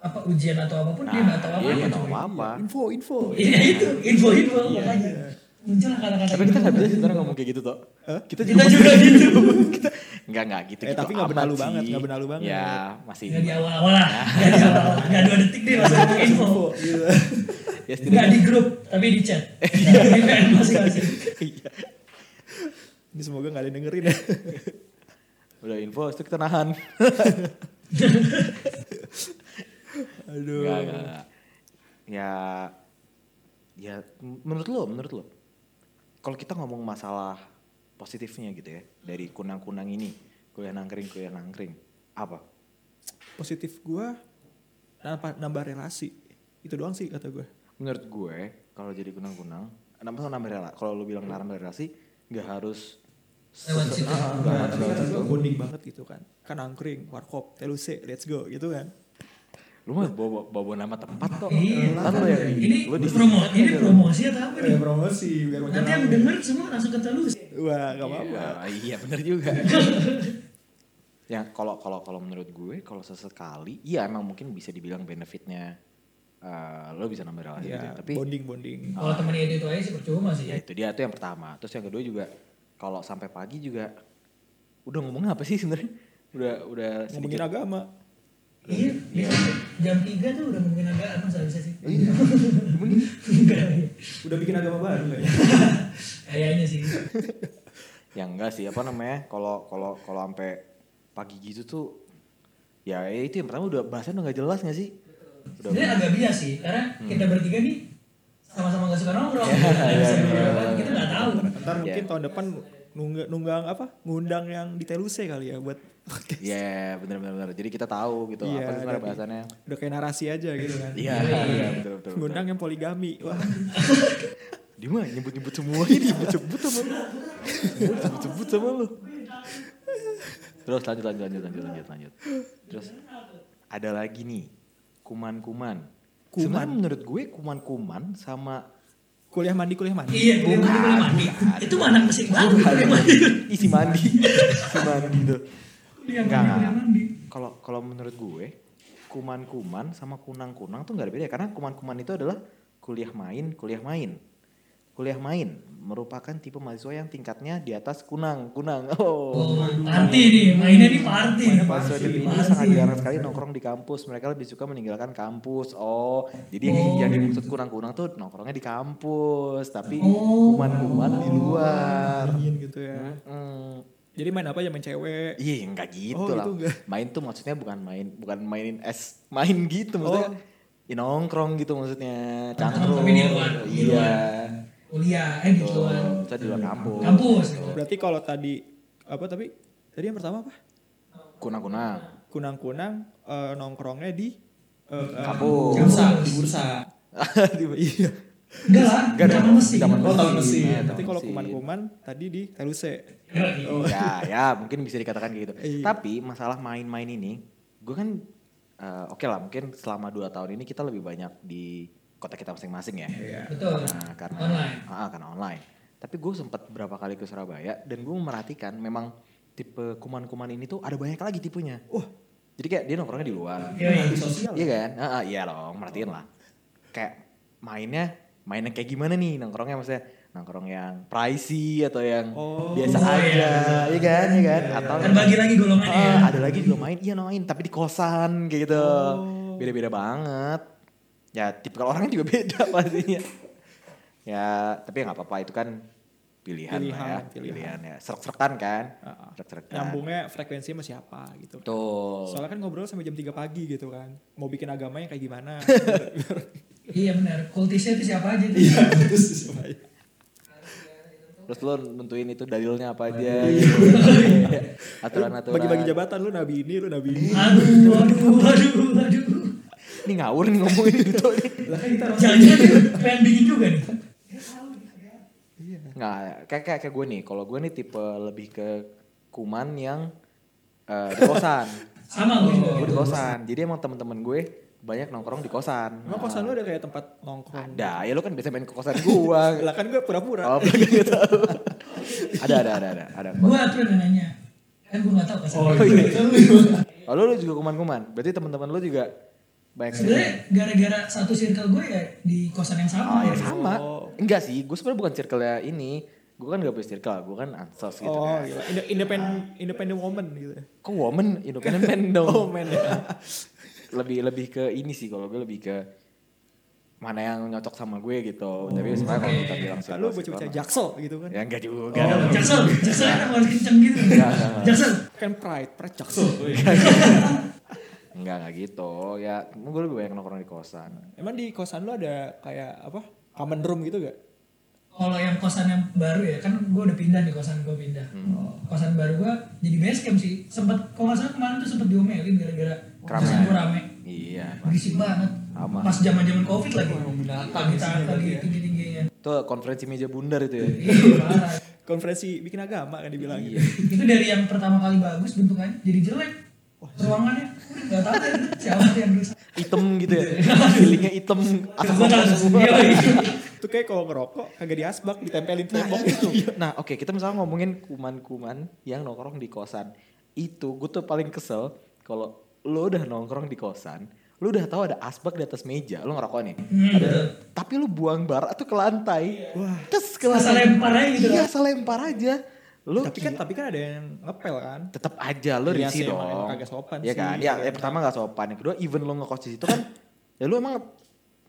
S3: apa ujian atau apapun dia nggak tahu
S1: iya,
S3: apa-apa.
S1: nggak tahu
S3: coy.
S1: apa-apa. Iya.
S2: Info, info.
S3: Iya itu, info-info makanya. Muncul kata-kata
S1: Tapi kita nggak bisa sih sebenarnya ngomong kayak gitu toh. Kita
S3: Kita juga gitu.
S1: kita nggak nggak gitu.
S2: Eh, tapi nggak benalu banget, nggak benalu banget.
S1: Ya masih.
S3: Gak di awal-awal lah, gak di awal-awal. Gak dua detik deh langsung ngomong info.
S2: Info. Gitu.
S1: Ya
S3: Gak
S1: setidaknya.
S3: di grup, tapi di chat. Di PM masing-masing.
S1: Iya.
S2: Ini semoga gak ada yang dengerin ya.
S1: Udah info, itu kita nahan.
S2: Aduh.
S1: Nggak nggak. nggak. Ya, ya menurut lo, menurut lo, kalau kita ngomong masalah positifnya gitu ya dari kunang-kunang ini, kuliah nangkring, kuliah nangkring, apa?
S2: Positif gue nambah, nambah relasi. Itu doang sih kata gue.
S1: menurut gue kalau jadi kunang-kunang nambah sama nambah rela kalau lu bilang nambah relasi nggak harus
S3: Lewat situ.
S1: Nggak
S2: Tapi
S1: harus.
S2: kata gue bonding banget gitu kan. Kan angkring, warkop, teluse, let's go gitu kan.
S1: lu mah bawa bawa nama tempat kok
S3: Iya.
S1: Ntar lu yang
S3: Ini
S1: lu di
S3: promo, ini promosi atau apa nih?
S2: promosi biar
S3: Nanti yang denger semua langsung ke telus.
S2: Wah, gak apa-apa.
S1: Iya, iya bener juga ya kalau kalau kalau menurut gue kalau sesekali iya emang mungkin bisa dibilang benefitnya eh lo bisa nambah relasi gitu
S2: Ya,
S1: ya. tapi
S2: bonding bonding.
S3: Kalau temennya itu itu aja sih percuma sih.
S1: ya itu dia itu yang pertama terus yang kedua juga kalau sampai pagi juga udah ngomongnya apa sih sebenarnya udah udah
S2: Ngomongin
S1: sedikit-
S2: agama.
S3: Iya, bisa sih. jam 3 tuh udah mungkin agak apa bisa sih. iya.
S1: Iya.
S2: Udah bikin agama baru kayaknya.
S3: Kayaknya sih.
S1: ya enggak sih apa namanya kalau kalau kalau sampai pagi gitu tuh ya itu yang pertama udah bahasanya udah nggak jelas nggak sih udah
S3: Sebenarnya agak bias sih, karena kita bertiga nih sama-sama gak suka nongkrong.
S1: Hmm. iya,
S3: kan? Kita nggak tahu.
S2: Ntar mungkin tahun depan nunggang, nunggang apa? Ngundang yang di teluse kali ya buat podcast.
S1: ya bener bener bener. jadi kita tahu gitu
S2: Iya,
S1: apa sih sebenarnya
S2: dari-
S1: bahasannya
S2: Udah kayak narasi aja gitu kan.
S1: iya iya betul betul, betul.
S2: Ngundang yang poligami. Wah,
S1: dia mah nyebut nyebut semua ini nyebut nyebut sama lu nyebut nyebut sama lu terus lanjut lanjut lanjut lanjut lanjut lanjut terus ada lagi nih kuman kuman
S2: Kuman.
S1: sebenarnya menurut gue kuman kuman sama
S2: kuliah mandi kuliah mandi.
S3: Iya, kuliah mandi kuliah mandi. Itu mah anak mesin banget kuliah mandi.
S1: isi mandi isi mandi tuh
S3: Kuliah
S1: Enggak,
S3: mandi
S1: enggak.
S3: kuliah mandi.
S1: kalau kalau menurut gue kuman-kuman sama kunang-kunang tuh nggak ada beda karena kuman-kuman itu adalah kuliah main kuliah main kuliah main merupakan tipe mahasiswa yang tingkatnya di atas kunang kunang oh
S3: Oh, party nih, mainnya di party.
S1: mahasiswa di ini sangat jarang sekali nongkrong di kampus mereka lebih suka meninggalkan kampus oh jadi yang-
S3: Oh.
S1: yang dimaksud kunang-kunang tuh nongkrongnya di kampus tapi
S3: Oh. Iya.
S1: kuman-kuman di luar
S2: Dingin gitu ya.
S1: Mm.
S2: Jadi main apa aja main cewek.
S1: Iya enggak gitu
S2: Oh,
S1: lah.
S2: gitu enggak.
S1: Main tuh maksudnya bukan main bukan mainin es main gitu maksudnya.
S2: Oh. Ah,
S1: Ya, nongkrong gitu maksudnya. Cangkrung.
S3: tapi di luar, di
S1: Iya.
S3: Kuliah, eh di
S1: Tuh,
S3: luar.
S1: Kita di luar
S2: Iya.
S1: kampus.
S3: Kampus. gitu.
S2: Berarti kalau tadi apa tapi tadi yang pertama apa?
S1: Kunang-kunang.
S2: Kunang-kunang eh, nongkrongnya di eh, eh,
S1: Kampus.
S3: Bursa.
S2: di bursa.
S1: Iya.
S3: Enggak lah,
S1: Enggak dong,
S3: zaman mesin.
S1: zaman
S4: Oh, tahun mesin.
S1: Iya,
S2: Nanti kalau
S1: mesin.
S2: kuman-kuman tadi di Teluse. Oh,
S1: ya ya mungkin bisa dikatakan kayak gitu
S2: Iya.
S1: tapi masalah main-main ini gue kan eh, oke lah mungkin selama dua tahun ini kita lebih banyak di kota kita masing-masing ya
S4: Iya.
S3: Betul.
S1: Nah, karena
S3: Online.
S1: Ah, karena online tapi gue sempat berapa kali ke Surabaya dan gue merhatikan memang tipe kuman-kuman ini tuh ada banyak lagi tipenya wah
S2: Nah.
S1: jadi kayak dia nongkrongnya di luar
S3: Iya, iya.
S1: Iya kan? Ah, ah, iya dong, merhatiin lah. Kayak mainnya, mainnya kayak gimana nih nongkrongnya maksudnya? Nongkrong yang pricey atau yang
S2: Oh,
S1: biasa
S3: iya,
S1: aja, iya, kan? Iya kan? Atau
S3: Kan bagi lagi golongan ya.
S1: Ah, ada lagi juga main, iya main tapi di kosan kayak gitu. Beda-beda banget. Ya tipikal orangnya juga beda pastinya. ya tapi nggak apa-apa itu kan pilihan, lah ya.
S2: Pilihan, pilihan.
S1: ya. Serek-serekan kan?
S2: Ah, ah.
S1: Serek-serekan.
S2: Nyambungnya frekuensinya masih apa gitu.
S1: Betul.
S2: Soalnya kan ngobrol sampai jam 3 pagi gitu kan. Mau bikin agama yang kayak gimana.
S3: Iya benar. Kultisnya itu siapa aja tuh?
S2: Terus
S1: Terus lo nentuin itu dalilnya apa aja gitu. Aturan-aturan.
S2: Bagi-bagi jabatan lu nabi ini, lu nabi ini.
S3: Aduh, aduh, aduh, aduh.
S1: Ini ngawur nih ngomongin itu nih.
S4: Lah kan kita orang
S3: Jangan-jangan dia pengen bikin juga nih.
S1: Nggak, kayak, kayak, kayak gue nih. Kalau gue nih tipe lebih ke kuman yang eh, di kosan.
S2: Oh,
S3: Sama
S2: iya,
S3: gue
S1: gue
S3: juga.
S1: Oh, di
S3: gitu.
S1: kosan. Jadi emang temen-temen gue banyak nongkrong di kosan.
S2: Emang kosan lu ada kayak tempat nongkrong?
S1: Ada, ya lo kan biasa main ke kosan gue.
S2: Lah kan gue pura-pura.
S1: Kalau belum gitu. ada, ada, ada, ada. ada.
S3: Gue tuh yang nanya. Kan gue gak tau kasar.
S4: Oh iya.
S1: Oh, lo, lo juga kuman-kuman. Berarti temen-temen lo juga banyak
S3: Sebenernya gara-gara satu circle gue ya di kosan yang
S1: Oh
S3: sama.
S2: iya.
S1: ya sama. Enggak sih, gue sebenarnya bukan circle ini. Gue kan gak punya circle, gue kan ansos gitu
S2: Oh,
S1: kan.
S2: gila. Inde- independent independent woman gitu.
S1: Kok woman, independent man dong.
S2: Oh, man.
S1: lebih lebih ke ini sih kalau gue lebih ke mana yang cocok sama gue gitu. Tapi sebenarnya kalau kita bilang circle,
S2: Oh, Kalau
S1: circle
S2: bocah-bocah
S1: mah-
S2: jaksel gitu kan.
S1: Ya enggak juga.
S3: Oh, Jaksel, Jaksel kan harus kenceng gitu. Jaksel,
S2: Kan pride, pride jaksel.
S1: Enggak, enggak gitu. Ya, gue lebih banyak nongkrong di kosan.
S2: Emang di kosan lu ada kayak apa? Common room gitu gak?
S3: kalau yang kosan yang baru ya kan gue udah pindah nih kosan gue pindah. Oh, Kosan baru gue jadi base camp sih. Sempet kalau nggak salah kemarin tuh sempet diomelin gara-gara
S1: Keramaian.
S3: kosan gue rame.
S1: Iya.
S3: Berisik banget.
S1: Sama.
S3: Pas zaman-zaman covid lagi.
S4: binatang
S3: Lagi
S4: di sini
S3: tahan
S4: berarti
S3: lagi
S4: ya.
S3: tinggi-tingginya.
S1: Itu konferensi meja bundar itu ya.
S3: Iya, parah.
S2: Konferensi bikin agama kan dibilang gitu.
S3: itu dari yang pertama kali bagus bentukannya jadi jelek. Ruangannya nggak tahu deh siapa yang rusak.
S1: Item gitu ya. Feelingnya item. Asam rokok semua.
S3: Iya, iya.
S2: Itu kayak kalau ngerokok kagak diasbak, ditempelin tembok gitu.
S1: Nah oke kita misalnya ngomongin kuman-kuman yang nongkrong di kosan Itu gue tuh paling kesel kalau lo udah nongkrong di kosan Lo udah tahu ada asbak di atas meja, lo ngerokok nih
S3: Hmm, betul.
S1: Tapi lo buang bara tuh ke lantai Wah Kes ke lantai
S3: Asal lempar Iya. aja gitu.
S1: Iya asal lempar aja Lo
S2: tapi kan tapi kan ada yang ngepel kan.
S1: tetap aja lo
S2: Iya
S1: risih
S2: sih,
S1: dong
S2: emang- emang kagak sopan
S1: Iya
S2: sih.
S1: kan ya, ya, pertama gak sopan Yang kedua even lo ngekos di situ kan Ya lo emang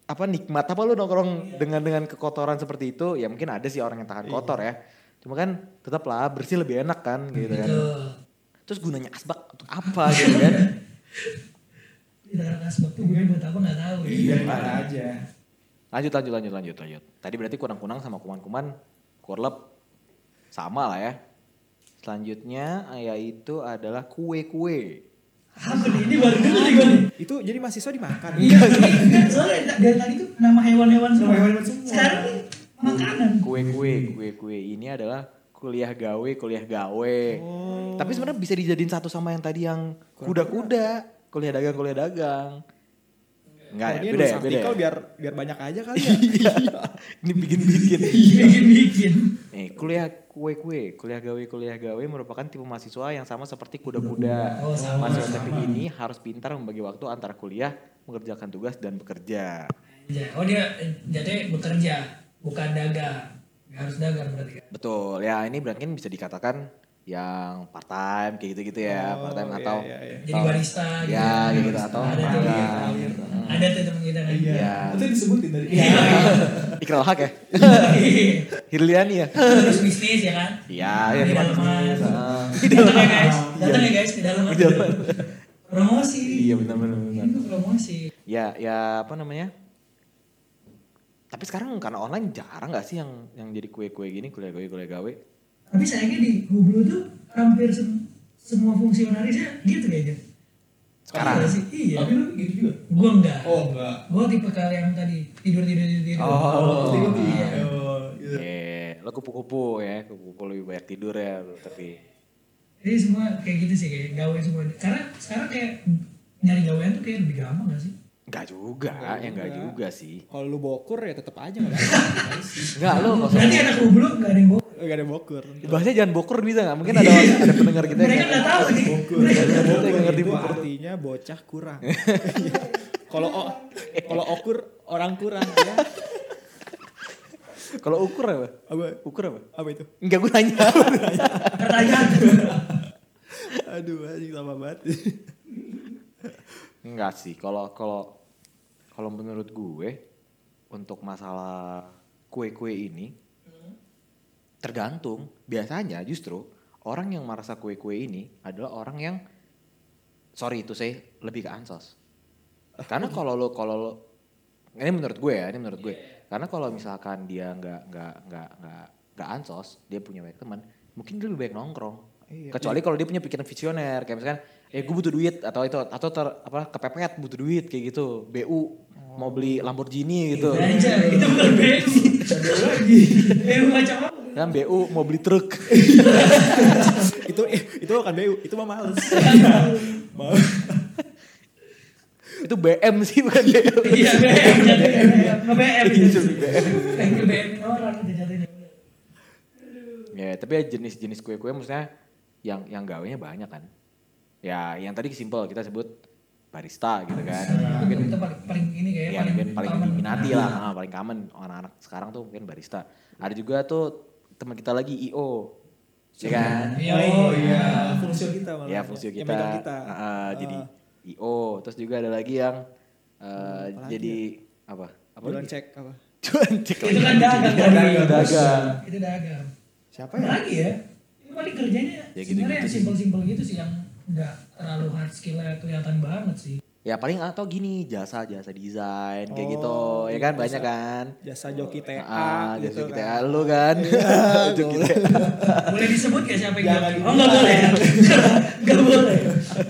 S1: apa nikmat apa lo nongkrong
S2: Iya.
S1: dengan dengan kekotoran seperti itu ya mungkin ada sih orang yang tahan kotor ya cuma kan tetaplah bersih lebih enak kan gitu kan
S2: Iya.
S3: Betul.
S1: terus gunanya asbak untuk apa gitu kan
S3: Tidak ada sebab tuh gue buat apa nggak tahu.
S4: Iya, mana aja.
S1: lanjut lanjut lanjut lanjut lanjut tadi berarti kunang-kunang sama kuman-kuman kurlep sama lah ya selanjutnya yaitu adalah kue-kue
S3: Apa nih? Ini baru dulu nih gue nih.
S2: Itu jadi mahasiswa dimakan.
S3: Iya, enggak soalnya dari tadi tuh nama hewan-hewan
S2: Nama
S3: semua.
S2: hewan-hewan semua.
S3: Sekarang nih makanan.
S1: kue-kue kue-kue ini adalah kuliah gawe kuliah gawe Oh. tapi sebenarnya bisa dijadiin satu sama yang tadi yang kuda-kuda kuliah dagang kuliah dagang enggak ya
S2: Dia
S1: beda
S2: nulis
S1: ya beda
S2: artikel
S1: ya.
S2: biar biar banyak aja kali ya.
S1: Iya. ini bikin-bikin
S3: Bikin-bikin.
S1: nih kuliah kue-kue kuliah gawe kuliah gawe merupakan tipe mahasiswa yang sama seperti kuda-kuda
S3: Oh, sama,
S1: mahasiswa tapi ini harus pintar membagi waktu antara kuliah mengerjakan tugas dan bekerja
S3: Ya, oh dia eh, jadi bekerja, bukan dagang. Nggak harus dagang berarti kan.
S1: betul ya ini berarti kan bisa dikatakan yang part time kayak gitu-gitu ya part time
S2: iya,
S1: atau
S2: iya, iya.
S3: Jadi barista gitu.
S1: ya gitu atau
S3: Ada tuh
S1: magang.
S3: dia. Ada tuh temen kita kan.
S1: Iya.
S4: Itu disebutin tadi.
S1: Ikral hak ya.
S3: Iya.
S1: Hirliani ya.
S3: Terus bisnis ya kan?
S1: Iya, iya,
S3: Di
S1: teman
S3: dalaman.
S1: bisnis, ah.
S3: Di dalaman ya guys. Datang ya guys di dalaman.
S1: Di dalaman.
S3: Promosi.
S1: Iya benar benar benar.
S3: Itu promosi.
S1: Ya ya apa namanya? Tapi sekarang karena online jarang nggak sih yang yang jadi kue-kue gini, kuliah gawe kuliah gawe.
S3: Tapi sayangnya di Google tuh hampir sem- semua fungsionarisnya gitu kayaknya.
S1: Sekarang.
S3: Iya sih, iya.
S4: Tapi lu gitu juga.
S3: Gue enggak.
S4: Oh enggak.
S3: Gue tipe kalian yang tadi tidur tidur tidur tidur.
S2: Oh.
S4: Tiga
S3: Iya.
S4: tiga. Oh, gitu.
S1: Iya, lo kupu-kupu ya, kupu-kupu lebih banyak tidur ya, lo, tapi
S3: Jadi semua kayak gitu sih kayak gawe semua. Karena sekarang kayak nyari gawean tuh kayak lebih gampang gak sih?
S1: enggak juga, ya enggak
S2: Iya.
S1: juga sih.
S2: Kalau lu bokur ya tetap aja nggak ada.
S1: Enggak lo
S3: Berarti anak goblok gak ada yang bohong.
S2: Gak ada bokur.
S1: Bahasnya jangan bokur bisa nggak? Mungkin ada ada pendengar kita
S3: Mereka
S1: yang
S3: nggak tahu nih. Mereka
S1: Ada
S2: Bokur
S1: pendengar yang ngerti
S2: itu
S1: bokur.
S2: artinya bocah kurang. Kalau o- kalau okur orang kurang ya.
S1: Kalau ukur apa?
S2: Apa
S1: Ukur apa?
S2: apa itu?
S1: Enggak gue nanya.
S3: pertanyaan.
S2: Aduh, anjing sama banget.
S1: Enggak sih. Kalau kalau kalau menurut gue untuk masalah kue-kue ini tergantung. Biasanya justru orang yang merasa kue-kue ini adalah orang yang sorry itu saya lebih ke ansos. Karena kalau lo kalau lo ini menurut gue ya, ini menurut gue. Karena kalau misalkan dia nggak nggak nggak nggak nggak ansos, dia punya banyak teman, mungkin dia lebih baik nongkrong. Kecuali kalau dia punya pikiran visioner, kayak misalkan, eh gue butuh duit atau itu atau ter, apa kepepet butuh duit kayak gitu, bu mau beli Lamborghini gitu,
S3: Belanja, itu bukan BU. Ada lagi. BU kacamata.
S1: kan bu mau beli truk,
S2: itu eh, itu bukan BU, itu mah males. Mau
S1: itu BM sih bukan bu.
S3: Iya BM, jatuh ke BM. Nge BM. gitu. Kayak ke BM orang itu jatuhnya.
S1: Ya, tapi ya jenis-jenis kue-kue maksudnya yang yang gawenya banyak kan. Ya, yang tadi simpel kita sebut barista gitu kan.
S3: Mungkin kita paling paling ini kayak
S1: Ya, mungkin paling
S3: common.
S1: diminati lah, ah, paling common anak-anak sekarang tuh mungkin barista. Ada juga tuh teman kita lagi IO. Ya kan?
S3: Iya,
S2: Oh
S3: iya.
S2: iya, fungsi kita malah.
S1: Ya, fungsi kita.
S2: Yang megang kita.
S1: Ah, ah, jadi IO, terus juga ada lagi yang eh, jadi apa? Apa?
S2: bulan
S1: lagi?
S2: cek apa?
S1: Jualan cek.
S3: Itu kan dagang
S1: Dagang,
S3: tadi.
S1: dagang.
S3: Itu dagang.
S2: Siapa
S3: Apa
S2: ya?
S3: lagi ya? Itu paling kerjanya
S1: Ya, gitu-gitu
S3: sebenarnya yang
S1: sih.
S3: simpel-simpel gitu sih yang nggak terlalu hard skillnya kelihatan banget sih.
S1: Ya paling atau gini, jasa-jasa desain kayak
S2: Oh,
S1: gitu. Ya
S2: iya,
S1: kan
S2: jasa.
S1: banyak kan.
S2: Jasa joki TA
S1: Ah,
S2: gitu
S1: Joki TA
S2: kan.
S1: lu kan. Joki TA.
S3: Boleh disebut gak siapa yang
S2: Jangan
S3: joki? Oh nggak boleh. Nggak boleh.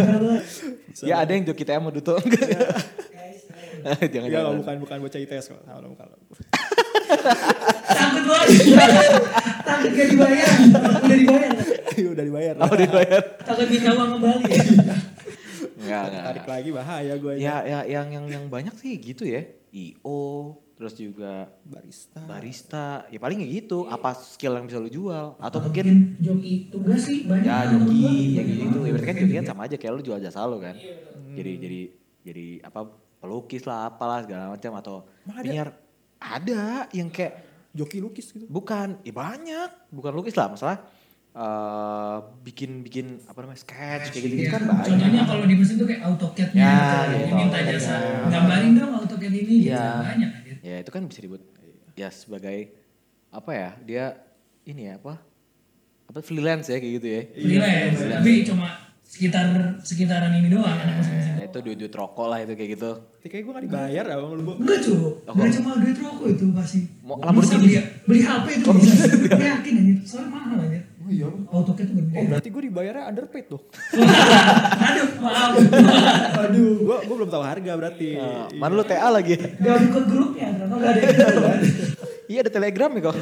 S3: Nggak boleh.
S1: Ya ada yang Joki TA mau duto. Enggak.
S3: Guys,
S1: Jangan
S2: Enggak,
S1: jangan.
S2: Iya. bukan bukan bocah ITS kok. Ah, Sama lo kalau.
S3: Takut banget. Takut gak dibayar. Udah dibayar.
S2: Udah dibayar.
S1: Oh, dibayar.
S3: Takut minta uang kembali.
S1: Enggak,
S2: Tarik
S1: enggak.
S2: lagi bahaya gue ini.
S1: Ya, ya yang yang yang banyak sih gitu ya. IO, terus juga
S2: barista.
S1: barista. Ya paling ya gitu,
S2: Iya.
S1: apa skill yang bisa lu jual atau
S3: Mungkin
S1: mungkin
S3: joki tugas sih banyak.
S1: ya
S3: kan, temen
S1: joki
S3: gua.
S1: ya gitu gitu. Ya berarti kan joki kan sama aja kayak lu jual jasa lu kan. Jadi jadi jadi apa pelukis lah apalah segala macam atau
S2: Emang ada?
S1: penyiar ada yang kayak
S2: Joki lukis gitu.
S1: Bukan, ya banyak. Bukan lukis lah, masalah eh, bikin bikin apa namanya sketch kayak gitu,
S3: Iya.
S1: kan banyak.
S3: Contohnya kalau di mesin tuh kayak AutoCAD nya
S1: Ya,
S3: gitu,
S1: gitu.
S3: minta jasa
S1: Ya.
S3: gambarin dong AutoCAD ini gitu,
S1: Iya.
S3: banyak anjir.
S1: Ya itu kan bisa dibuat ya sebagai apa ya dia ini ya apa apa freelance ya kayak gitu ya.
S3: Iya. Freelance, tapi cuma sekitar sekitaran ini doang anak mesin-mesin.
S1: Ya, itu duit-duit rokok lah itu kayak gitu.
S2: Tapi kayak gue gak dibayar ya sama lu. Bu.
S3: Enggak cuy,
S1: Oh,
S3: enggak cuma duit rokok itu pasti.
S1: Mau Oh,
S3: Bisa
S1: Lamborghini?
S3: beli, beli HP itu bisa. Gue yakin anjir, soalnya mahal anjir.
S2: Oh iya.
S3: AutoCAD tuh gede.
S2: Oh berarti gue dibayarnya underpaid tuh.
S3: Aduh, maaf.
S2: Aduh, gue gue belum tahu harga berarti. Iya.
S1: Eh, mana lu TA lagi ya?
S3: Gak buka grupnya, kenapa gak ada yang tahu.
S1: Iya ada telegram ya kok.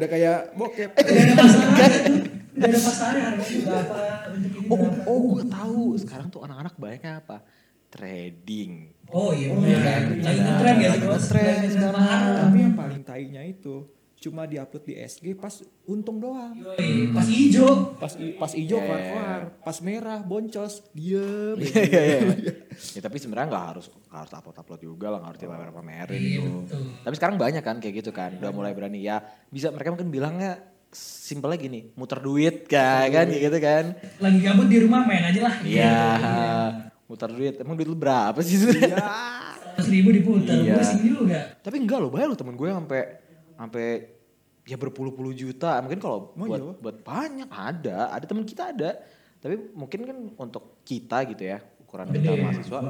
S2: Udah kayak bokep.
S3: Gak ada pasarnya itu. Gak ada pasarnya harganya berapa, untuk ini
S1: Oh,
S3: berapa.
S1: oh gue tahu. Sekarang tuh anak-anak banyaknya apa? Trading.
S3: Oh iya, bener.
S2: gitu.
S3: lagi
S1: gitu.
S3: ngetren ya, lagi ngetren sekarang.
S1: Iya.
S2: Tapi yang paling tainya itu cuma diupload di SG pas untung doang.
S3: Yoi, Pas hijau,
S2: Pas i- pas hijau
S1: Yeah.
S2: keluar-keluar, pas merah boncos, diem.
S1: Iya iya iya. Ya tapi sebenarnya nggak harus nggak harus upload upload juga lah, nggak harus tiap hari pamerin
S3: Iya,
S1: gitu.
S3: betul.
S1: Tapi sekarang banyak kan kayak gitu kan, udah mulai berani ya. Bisa mereka mungkin bilangnya simpelnya gini, muter duit kayak kan kayak gitu kan.
S3: lagi gabut di rumah main aja lah.
S1: Iya, muter duit. Emang duit lu berapa sih sebenarnya?
S3: Seratus ribu diputar,
S1: Iya.
S3: pusing juga.
S1: tapi enggak loh, banyak loh temen gue yang sampai sampai ya berpuluh-puluh juta. Mungkin kalau
S2: Emang
S1: buat
S2: iya, Pak?
S1: buat banyak ada, ada temen kita ada. Tapi mungkin kan untuk kita gitu ya, ukuran kita
S3: Gede.
S1: mahasiswa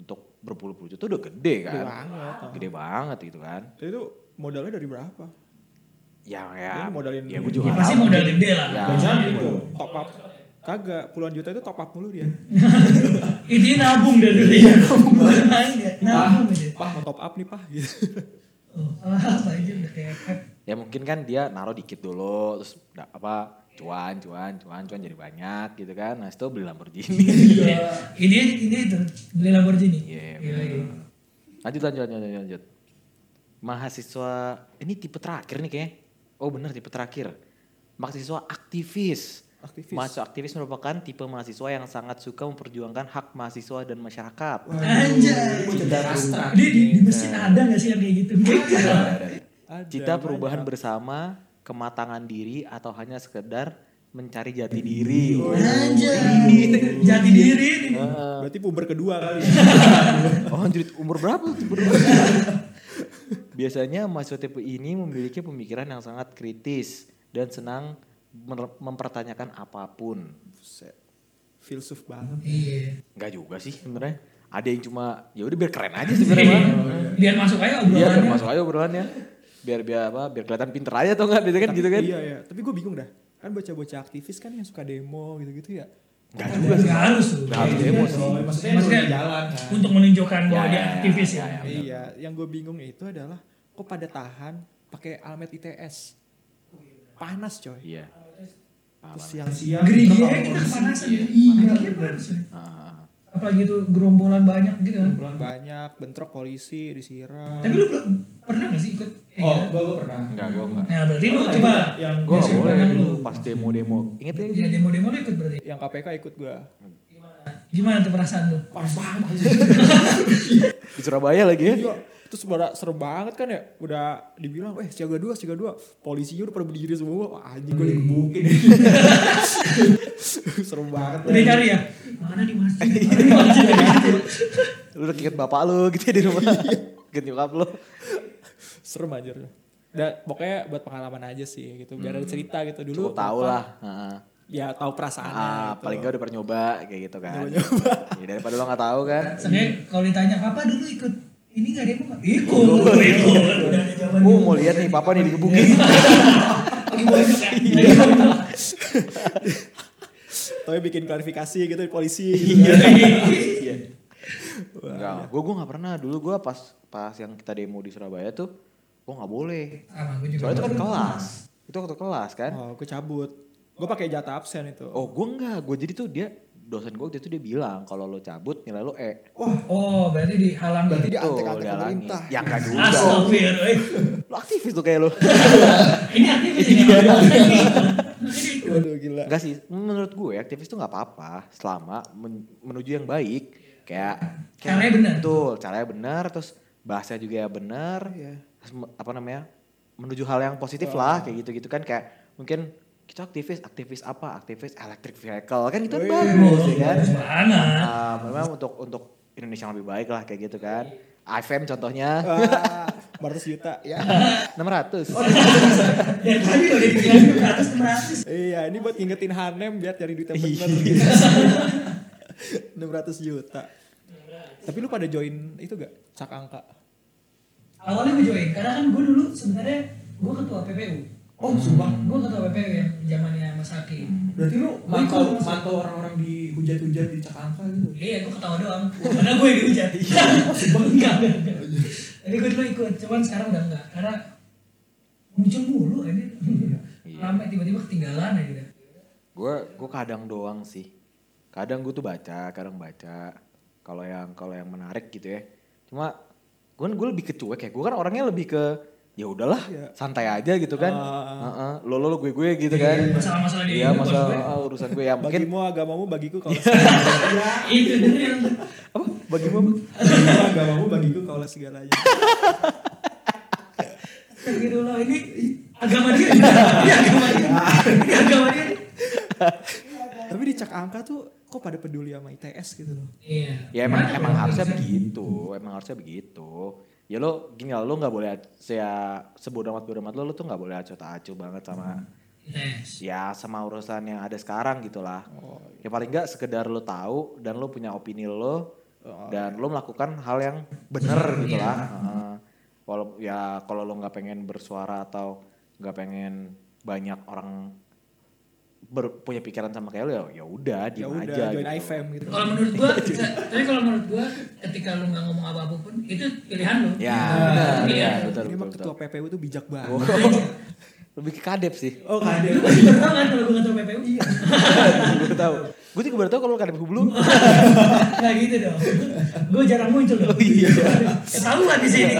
S1: untuk berpuluh-puluh juta udah gede kan.
S2: Gede banget.
S1: Gede banget gitu kan.
S2: Itu modalnya dari berapa?
S1: Ya ya.
S2: Jadi modalin Iya
S1: ya
S2: dulu.
S1: gue juga
S3: Ya,
S1: nggak
S3: pasti
S1: tahu.
S3: modal gede lah.
S1: Ya.
S2: Gitu.
S1: Iya.
S3: gitu.
S2: Banyak itu top up. Kagak, puluhan juta itu top up mulu dia.
S3: Intinya nabung dari dulu ya. Nabung bukan main ya. Nabung aja.
S2: Pah, mau top up nih pah gitu.
S3: Oh, alas aja udah kayak Pep.
S1: ya mungkin kan dia naruh dikit dulu terus da- apa cuan cuan cuan cuan jadi banyak gitu kan nah itu beli Lamborghini
S3: Iya. Ini ini itu beli Lamborghini.
S1: Iya,
S3: Gila, gila.
S1: lanjut lanjut lanjut lanjut, lanjut. mahasiswa ini tipe terakhir nih kayaknya oh bener tipe terakhir mahasiswa aktivis
S2: Aktivis.
S1: mahasiswa aktivis merupakan tipe mahasiswa yang sangat suka memperjuangkan hak mahasiswa dan masyarakat
S3: Anjay.
S4: Astra.
S3: Dia di, di mesin ada nggak sih yang kayak gitu?
S1: Iya,
S2: Ada
S1: cita
S2: banyak.
S1: perubahan bersama kematangan diri atau hanya sekedar mencari jati diri
S3: Anjay. Jati diri ini.
S1: Eh.
S2: Berarti puber kedua kali.
S1: Oh anjir umur berapa? tuh? Umur berapa? Biasanya mahasiswa tipe ini memiliki pemikiran yang sangat kritis dan senang mer- mempertanyakan apapun.
S2: Buset. Filsuf banget.
S3: Iya.
S1: Enggak juga sih sebenarnya. Ada yang cuma ya udah biar keren aja sebenarnya. Bang.
S3: Iya. Biar masuk aja
S1: Iya biar
S3: obrolannya.
S1: masuk aja obrolannya. Biar biar apa? Biar kelihatan pinter aja atau enggak biasanya kan gitu kan?
S2: Iya, iya. Tapi gue bingung dah. Kan bocah-bocah aktivis kan yang suka demo gitu-gitu ya.
S1: Enggak juga.
S3: Gak harus tuh.
S1: Enggak harus demo sih.
S4: Maksudnya
S3: Maksudnya
S4: di jalan kan.
S3: untuk menunjukkan
S1: Ya,
S3: bahwa dia
S1: ya, ya,
S3: aktivis
S1: ya,
S3: ya.
S1: ya. benar.
S2: Iya, yang gue bingung itu adalah kok pada tahan pakai almet ITS. Panas coy.
S1: Iya.
S2: Terus yang
S4: Siang.
S3: Gerigi
S4: terbang
S3: aja kita
S4: polisi.
S3: kepanasan.
S4: Iya.
S3: Iya, gerigi panas. ya.
S1: Ah,
S3: Apalagi itu gerombolan banyak gitu kan.
S2: pulang banyak, bentrok polisi, disiram.
S3: Tapi lu belum pernah gak sih ikut? kayak
S4: Oh,
S3: gitu?
S4: gua gua pernah.
S1: enggak gua enggak.
S3: Nah berarti lu coba.
S4: yang
S1: Gua
S3: Biasa
S1: enggak boleh
S3: banyak
S1: dulu
S3: lu.
S1: pas demo-demo. Ingat ya?
S3: Ya demo-demo lu ikut berarti.
S2: Yang KPK ikut gue.
S3: Gimana? Gimana tuh perasaan lu?
S4: pas banget.
S1: Di Surabaya lagi ya?
S2: Iya, terus pada seru banget kan ya. Udah dibilang, eh siaga dua, siaga dua. Polisinya udah pada berdiri semua. Wah anjing
S3: Iya.
S2: gue digebukin. seru banget.
S3: Udah cari ya? Mana di masjid? Mana di masjid?
S1: lu udah keinget bapak lu gitu ya di rumah keinget nyokap lu
S2: Serem aja. Dan pokoknya buat pengalaman aja sih gitu. Biar ada cerita gitu dulu.
S1: cukup tau
S2: apa-
S1: lah Ah. Heeh.
S2: Ya tahu gitu perasaan.
S1: Ah, paling gak udah pernah nyoba kayak gitu kan ya, daripada lu gak tahu kan
S3: Sebenernya kalau ditanya, papa dulu ikut ini gak demo gak? Ikut, ikut. Udah di jawaban
S1: iya. oh
S3: dulu.
S1: mau lihat nih papa nih digebukin Iya.
S3: Lagi bonyok ya? Lagi bonyok.
S2: Iya. Tapi bikin klarifikasi gitu di polisi.
S3: Iya.
S2: Gitu.
S1: enggak gue gue gak pernah dulu gue pas pas yang kita demo di Surabaya tuh gue gak boleh
S3: Sama gue juga.
S1: soalnya itu kan kelas itu waktu kelas kan
S2: Oh, gue cabut. Gue pakai jatah absen itu.
S1: oh gue enggak gue jadi tuh dia dosen gue waktu itu dia bilang kalau lo cabut nilai lo E
S3: Oh, berarti dihalang
S2: Berarti
S3: berarti
S2: dia
S1: Tuh,
S2: antek-antek
S1: dihalangi.
S2: pemerintah.
S1: ya enggak juga
S3: Astagfirullah.
S1: lo aktivis tuh kayak lo
S3: Ini aktivis
S1: Iya.
S3: ini. Ini
S2: Waduh gila.
S1: Enggak sih, menurut gue aktivis tuh nggak apa-apa selama men- menuju yang baik. Kayak
S3: Caranya benar.
S1: Betul, caranya benar terus bahasa juga benar.
S2: Iya.
S1: Terus me- apa namanya? Menuju hal yang positif lah kayak gitu-gitu kan kayak mungkin kita aktivis, aktivis apa? Aktivis electric vehicle kan itu kan
S2: Wih,
S1: bagus ya
S3: Iya,
S1: kan.
S3: Banget.
S1: Ah, memang untuk untuk Indonesia yang lebih baik lah kayak gitu kan. IFM contohnya
S2: Wah, 400 juta Eh, ya.
S1: 600.
S3: Ya tadi udah dibilang 200
S2: Iya, ini buat ngingetin Hanem biar cari duit yang
S1: Iya.
S2: bener. 600 juta. Tapi lu pada join itu gak? Cak angka.
S3: Awalnya gue join, karena kan gue dulu sebenarnya gue ketua PPU.
S4: Oh, sumpah.
S3: Gue ketua PPU yang ya, zamannya Mas Haki.
S4: Berarti lu
S3: Gua
S4: mantau
S3: ikut, Mas.
S4: mantau orang-orang di hujat-hujat di Cakangka gitu.
S3: Iya, gue ketawa doang. Karena gue yang dihujat. Enggak, enggak, enggak. Jadi gue dulu ikut, cuman sekarang udah enggak. Karena muncul mulu aja.
S1: Iya.
S3: Lama tiba-tiba ketinggalan aja. udah.
S1: gue gue kadang doang sih kadang gue tuh baca kadang baca kalau yang kalau yang menarik gitu ya cuma gue gue lebih ke cuek ya gue kan orangnya lebih ke ya udahlah
S2: Iya.
S1: santai aja gitu kan
S3: Ah,
S1: Heeh, lo lo lo gue gue gitu kan
S3: masalah-masalah di
S1: iya
S3: hidup
S1: masalah
S3: maksud gue.
S1: ah, urusan gue ya mungkin Iya.
S2: Bagimu agamamu bagiku kalau
S3: Itu dulu yang
S1: apa bagimu apa?
S2: Bagimu agamamu bagiku kalau segalanya.
S3: Astagfirullah gitu ini agama dia. Ini agama dia. Ini agama dia.
S2: Tapi di Cak angka tuh kok pada peduli sama ITS gitu loh.
S3: Iya.
S1: ya emang
S3: Gimana
S1: emang
S3: kalau
S1: harusnya
S3: bisa?
S1: begitu emang harusnya begitu ya lo gini lah lo nggak boleh saya sebodoh amat bodoh amat lo lo tuh nggak boleh acuh tak acuh banget sama
S3: Hmm. Tes.
S1: ya sama urusan yang ada sekarang gitulah.
S2: Oh, iya.
S1: Ya paling enggak sekedar lo tahu dan lo punya opini lo
S2: Oh,
S1: dan
S2: iya.
S1: lo melakukan hal yang benar gitulah. Heeh. Walau ya kalau lo nggak pengen bersuara atau nggak pengen banyak orang ber- punya pikiran sama kayak lu ya ya udah
S2: ya
S1: diem
S2: udah
S1: aja
S2: join
S1: gitu.
S2: IFM gitu
S3: Kalau menurut gua, tapi kalau menurut gua ketika lu nggak ngomong apa-apa pun itu pilihan lu.
S1: Ya,
S3: Nah,
S1: benar,
S3: iya.
S1: ya, betul,
S2: ini
S1: betul,
S2: emang
S1: betul.
S2: ketua PPU tuh bijak banget
S1: Wow. Lebih ke kadep sih.
S2: oh kan
S3: Lu pasti baru tau kan kalau gua ketua PPU? Iya.
S1: gue tahu. Gue juga baru tahu kalau lu kadep hublu.
S2: Oh.
S3: Nggak gitu dong. Gua jarang muncul loh.
S1: iya.
S3: Ketahuan di sini.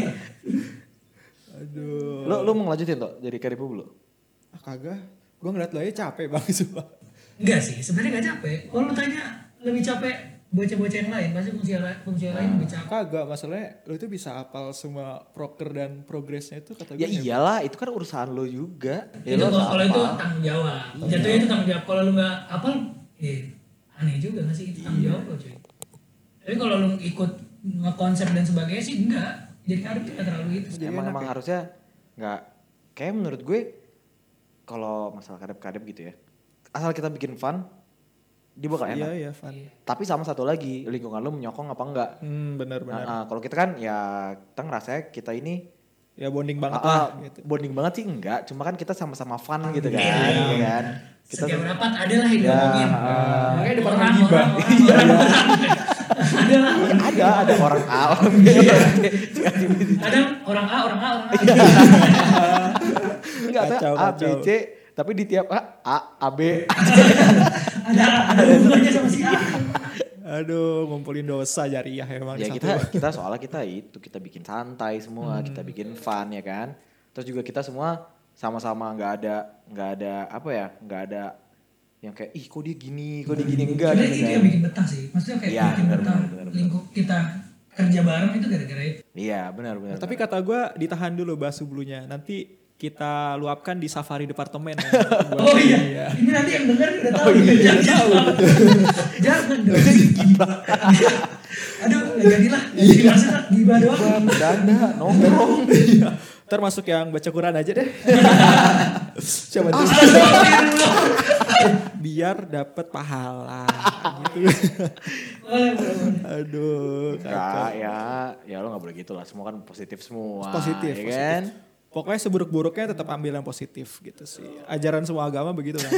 S2: aduh
S1: Lu lu mau ngelanjutin tuh jadi kadep hublu?
S2: ah, kagak gue ngeliat lo aja capek bang sumpah
S3: Enggak sih, sebenarnya nggak capek. Kalau lu tanya lebih capek bocah-bocah yang lain, pasti fungsi fungsi lain lebih capek.
S2: kagak masalahnya lo itu bisa apal semua proker dan progresnya itu kata gue
S1: Ya iyalah, itu kan urusan lu juga. Ya,
S3: itu
S1: lu harus
S3: kalau kalau itu
S1: hafal.
S3: tanggung jawab. Jatuhnya itu tanggung jawab. Kalau lu nggak apal, ya aneh juga nggak sih itu tanggung
S1: Iya.
S3: jawab lo cuy. Tapi kalau lu ikut ngekonsep dan sebagainya sih enggak. Jadi kadang nggak terlalu gitu. itu.
S2: Jadi
S1: emang
S2: enak
S1: emang
S2: ya?
S1: harusnya nggak kayak menurut gue kalau masalah kadep-kadep gitu ya asal kita bikin fun dia bakal
S2: iya
S1: enak
S2: iya fun
S1: tapi sama satu lagi lingkungan lu menyokong apa enggak
S2: hmm benar benar
S1: Nah, ah, kalau kita kan ya kita ngerasa kita ini
S2: ya bonding banget
S1: ah, ah,
S2: lah gitu
S1: bonding banget sih enggak cuma kan kita sama-sama fun gitu kan
S3: Iya.
S1: iya kan kita
S3: Setiap rapat ada lah yang
S1: Ya,
S3: ngomongin.
S1: ah.
S4: Makanya depan
S3: Orang,
S4: orang gibah.
S3: orang, orang, orang. Ada lah.
S1: Iya, ada ada orang A orang B
S2: Iya.
S1: orang C.
S3: Ada orang A, orang A, orang A.
S1: enggak ada
S2: Kacau,
S1: A B
S2: kacau.
S1: C tapi di tiap A A A B
S3: Ada ada hubungannya sama si A.
S2: aduh ngumpulin dosa jariah emang
S1: ya
S2: Oh, di
S1: kita
S2: satu Hmm.
S1: kita soalnya kita itu kita bikin santai semua kita bikin fun ya kan terus juga kita semua sama-sama nggak ada nggak ada apa ya nggak ada yang kayak ih kok dia gini kok dia gini enggak
S3: Sebenarnya
S1: gitu
S3: itu
S1: kan.
S3: yang bikin betah sih. Maksudnya kayak
S1: Iya,
S3: bikin
S1: benar,
S3: betah
S1: benar, benar, benar.
S3: lingkup kita kerja bareng itu gara-gara itu.
S1: iya benar benar
S2: Eh, tapi kata gue ditahan dulu bahas bulunya nanti kita luapkan di safari departemen Buat-
S3: Oh iya. Ini nanti yang denger udah tahu. Jangan tahu. Jangan dong. Gibah. Aduh, nggak jadilah. Jadi maksudnya gibah doang.
S1: benar bercanda nongkrong
S2: Ntar masuk yang baca Quran aja deh. Coba dulu.
S3: Astagfirullah.
S2: Biar dapat pahala. gitu.
S3: Boleh, boleh, boleh.
S2: Aduh, kacau.
S1: Enggak, ya ya lo nggak boleh gitu lah semua kan positif semua
S2: Positif,
S1: ya
S2: positif.
S1: kan
S2: Pokoknya seburuk-buruknya tetap ambil yang positif gitu sih. Ajaran semua agama begitu kan.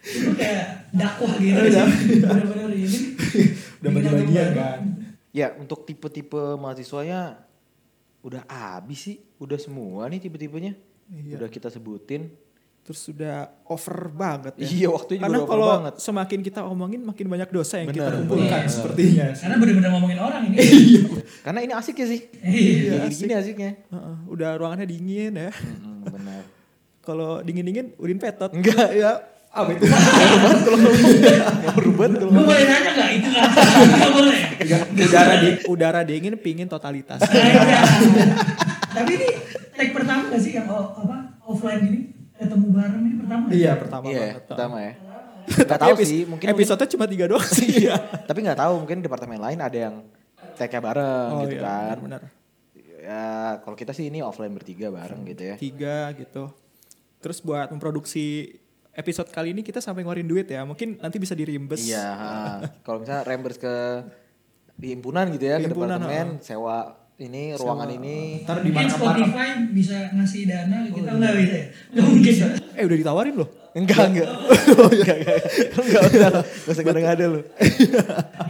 S3: Itu kayak dakwah gitu sih. Bener-bener ini.
S2: Udah bagi-bagian kan.
S1: ya untuk tipe-tipe mahasiswanya udah habis sih udah semua nih tipe-tipenya
S2: Iya.
S1: udah kita sebutin
S2: Terus sudah over banget ya.
S1: Iya, waktunya juga
S2: Karena
S1: udah over
S2: kalau
S1: banget.
S2: semakin kita omongin makin banyak dosa yang kita
S1: Bener,
S2: kumpulkan
S3: bener.
S2: sepertinya.
S3: Karena bener-bener ngomongin orang ini.
S1: karena ini asik ya sih
S3: Iya.
S1: Gini- gini asiknya
S2: Heeh, udah ruangannya dingin ya.
S1: Mm-mm, Hmm, benar
S2: Kalau dingin-dingin udin petot.
S1: Enggak.
S2: ya. Ah, itu.
S3: Gue boleh nanya nggak itu apa? Nggak boleh.
S2: udara di udara dingin pingin totalitas.
S3: Iya. Tapi ini tag pertama gak sih yang o- apa offline ini ketemu bareng ini pertama? nggak?
S2: iya pertama
S1: Iya,
S2: banget.
S1: pertama ya.
S2: Tapi
S1: Gak tahu
S2: epis-
S1: sih, mungkin
S2: episode-nya cuma tiga doang sih. Iya.
S1: mungkin- tapi nggak tahu mungkin departemen lain ada yang tag-nya bareng
S2: Oh
S1: gitu
S2: iya,
S1: kan.
S2: benar.
S1: Ya, kalau kita sih ini offline bertiga bareng gitu ya.
S2: Tiga gitu. Terus buat memproduksi episode kali ini kita sampai ngeluarin duit ya. Mungkin nanti bisa dirimbes.
S1: Iya, ha. kalau misalnya rembers ke di himpunan gitu ya, ke
S2: Di himpunan,
S1: departemen sewa ini ruangan ini.
S2: Ntar di
S3: Mungkin
S2: mana
S3: Spotify bisa ngasih dana kita nggak bisa ya? Nggak mungkin.
S2: Eh udah ditawarin loh.
S1: Enggak, enggak. Enggak, enggak. Enggak usah. lu. Enggak iya, usah ngada-ngada lu.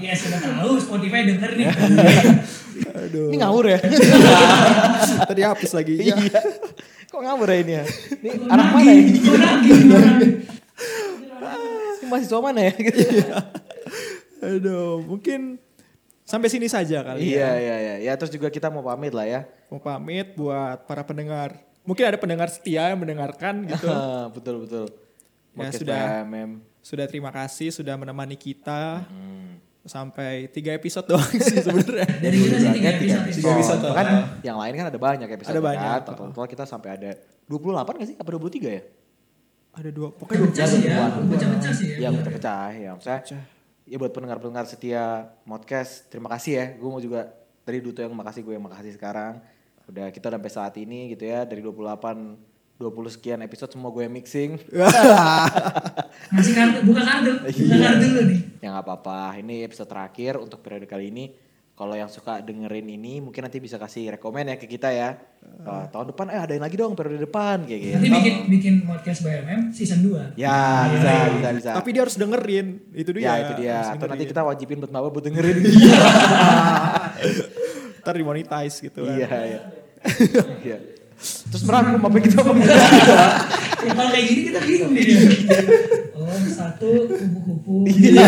S3: Ya sudah tahu Spotify denger nih.
S2: Iya.
S1: Ini ngawur ya?
S2: Tadi habis lagi. Iya.
S1: Iya. Kok ngawur ya ini ya? Ini
S3: Gua
S1: arah mana
S3: nagih,
S1: ya?
S3: gua nagih,
S2: Iya.
S3: gua nagih.
S1: Ini mahasiswa mana ya? Gitu.
S2: Aduh, mungkin sampai sini saja kali
S1: Iya,
S2: ya.
S1: iya, iya. Ya terus juga kita mau pamit lah ya.
S2: Mau pamit buat para pendengar. Mungkin ada pendengar setia yang mendengarkan gitu.
S1: betul betul.
S2: Ya,
S1: Podcast
S2: sudah.
S1: PMM.
S2: sudah terima kasih sudah menemani kita sampai tiga episode doang sih sebenarnya Oh,
S3: Dari kita sih tiga
S1: Jumlahnya tiga
S3: episode.
S1: episode.
S2: Tiga episode.
S1: Kan yang lain kan ada banyak episode.
S2: Ada banyak.
S1: Kan? Total kita sampai ada 28 gak sih? Apa 23 ya?
S2: ada dua pokoknya
S3: Pecah-pecah sih ya, Iya, pecah-pecah sih ya.
S2: Iya.
S1: Ya pecah-pecah ya. Maksudnya, ya buat pendengar-pendengar setia podcast, terima kasih ya. Gue mau juga dari Duto yang makasih, gue yang makasih sekarang. Udah kita udah sampai saat ini gitu ya. Dari 28 20 sekian episode semua gue yang mixing.
S3: Ngasih
S2: Iya.
S3: kartu, buka kartu, buka kartu dulu nih.
S1: Ya nggak apa-apa. Ini episode terakhir untuk periode kali ini. Kalau yang suka dengerin ini mungkin nanti bisa kasih rekomen ya ke kita ya.
S2: Ah.
S1: Eh, tahun depan eh adain lagi dong periode depan kayak
S2: Iya.
S1: gitu.
S3: Nanti bikin bikin podcast BMM season 2.
S1: Ya bisa bisa bisa.
S2: iya, Tapi dia harus dengerin. Itu dia.
S1: ya itu dia.
S2: harus
S1: Atau nanti
S2: dengerin. Iya,
S1: kita wajibin buat Mawar buat dengerin.
S2: ntar dimonetize gitu kan.
S1: Iya iya. Iya. Terus merangkum apa yang kita ngomongin?
S3: Ya, kalau kayak gini kita bingung nih. Oh, satu kupu-kupu.
S1: Iya.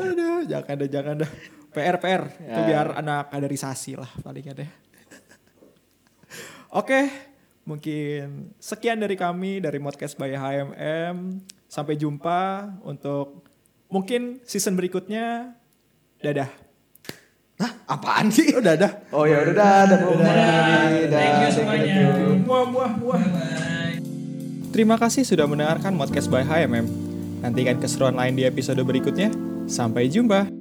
S2: Aduh, jangan ada jangan ada. PR PR itu
S1: Ya.
S2: biar anak kaderisasi lah paling ada. Oke, mungkin sekian dari kami dari Modcast by HMM. Sampai jumpa untuk mungkin season berikutnya. Dadah.
S1: Hah, apaan sih?
S2: Oh, dadah.
S1: Oh ya udah
S2: Iya.
S1: dah, dah, dah, dah,
S3: Thank you
S1: dah.
S3: semuanya.
S2: Muah muah muah.
S3: Bye-bye.
S2: Terima kasih sudah mendengarkan Modcast by HMM. Nantikan keseruan lain di episode berikutnya. Sampai jumpa.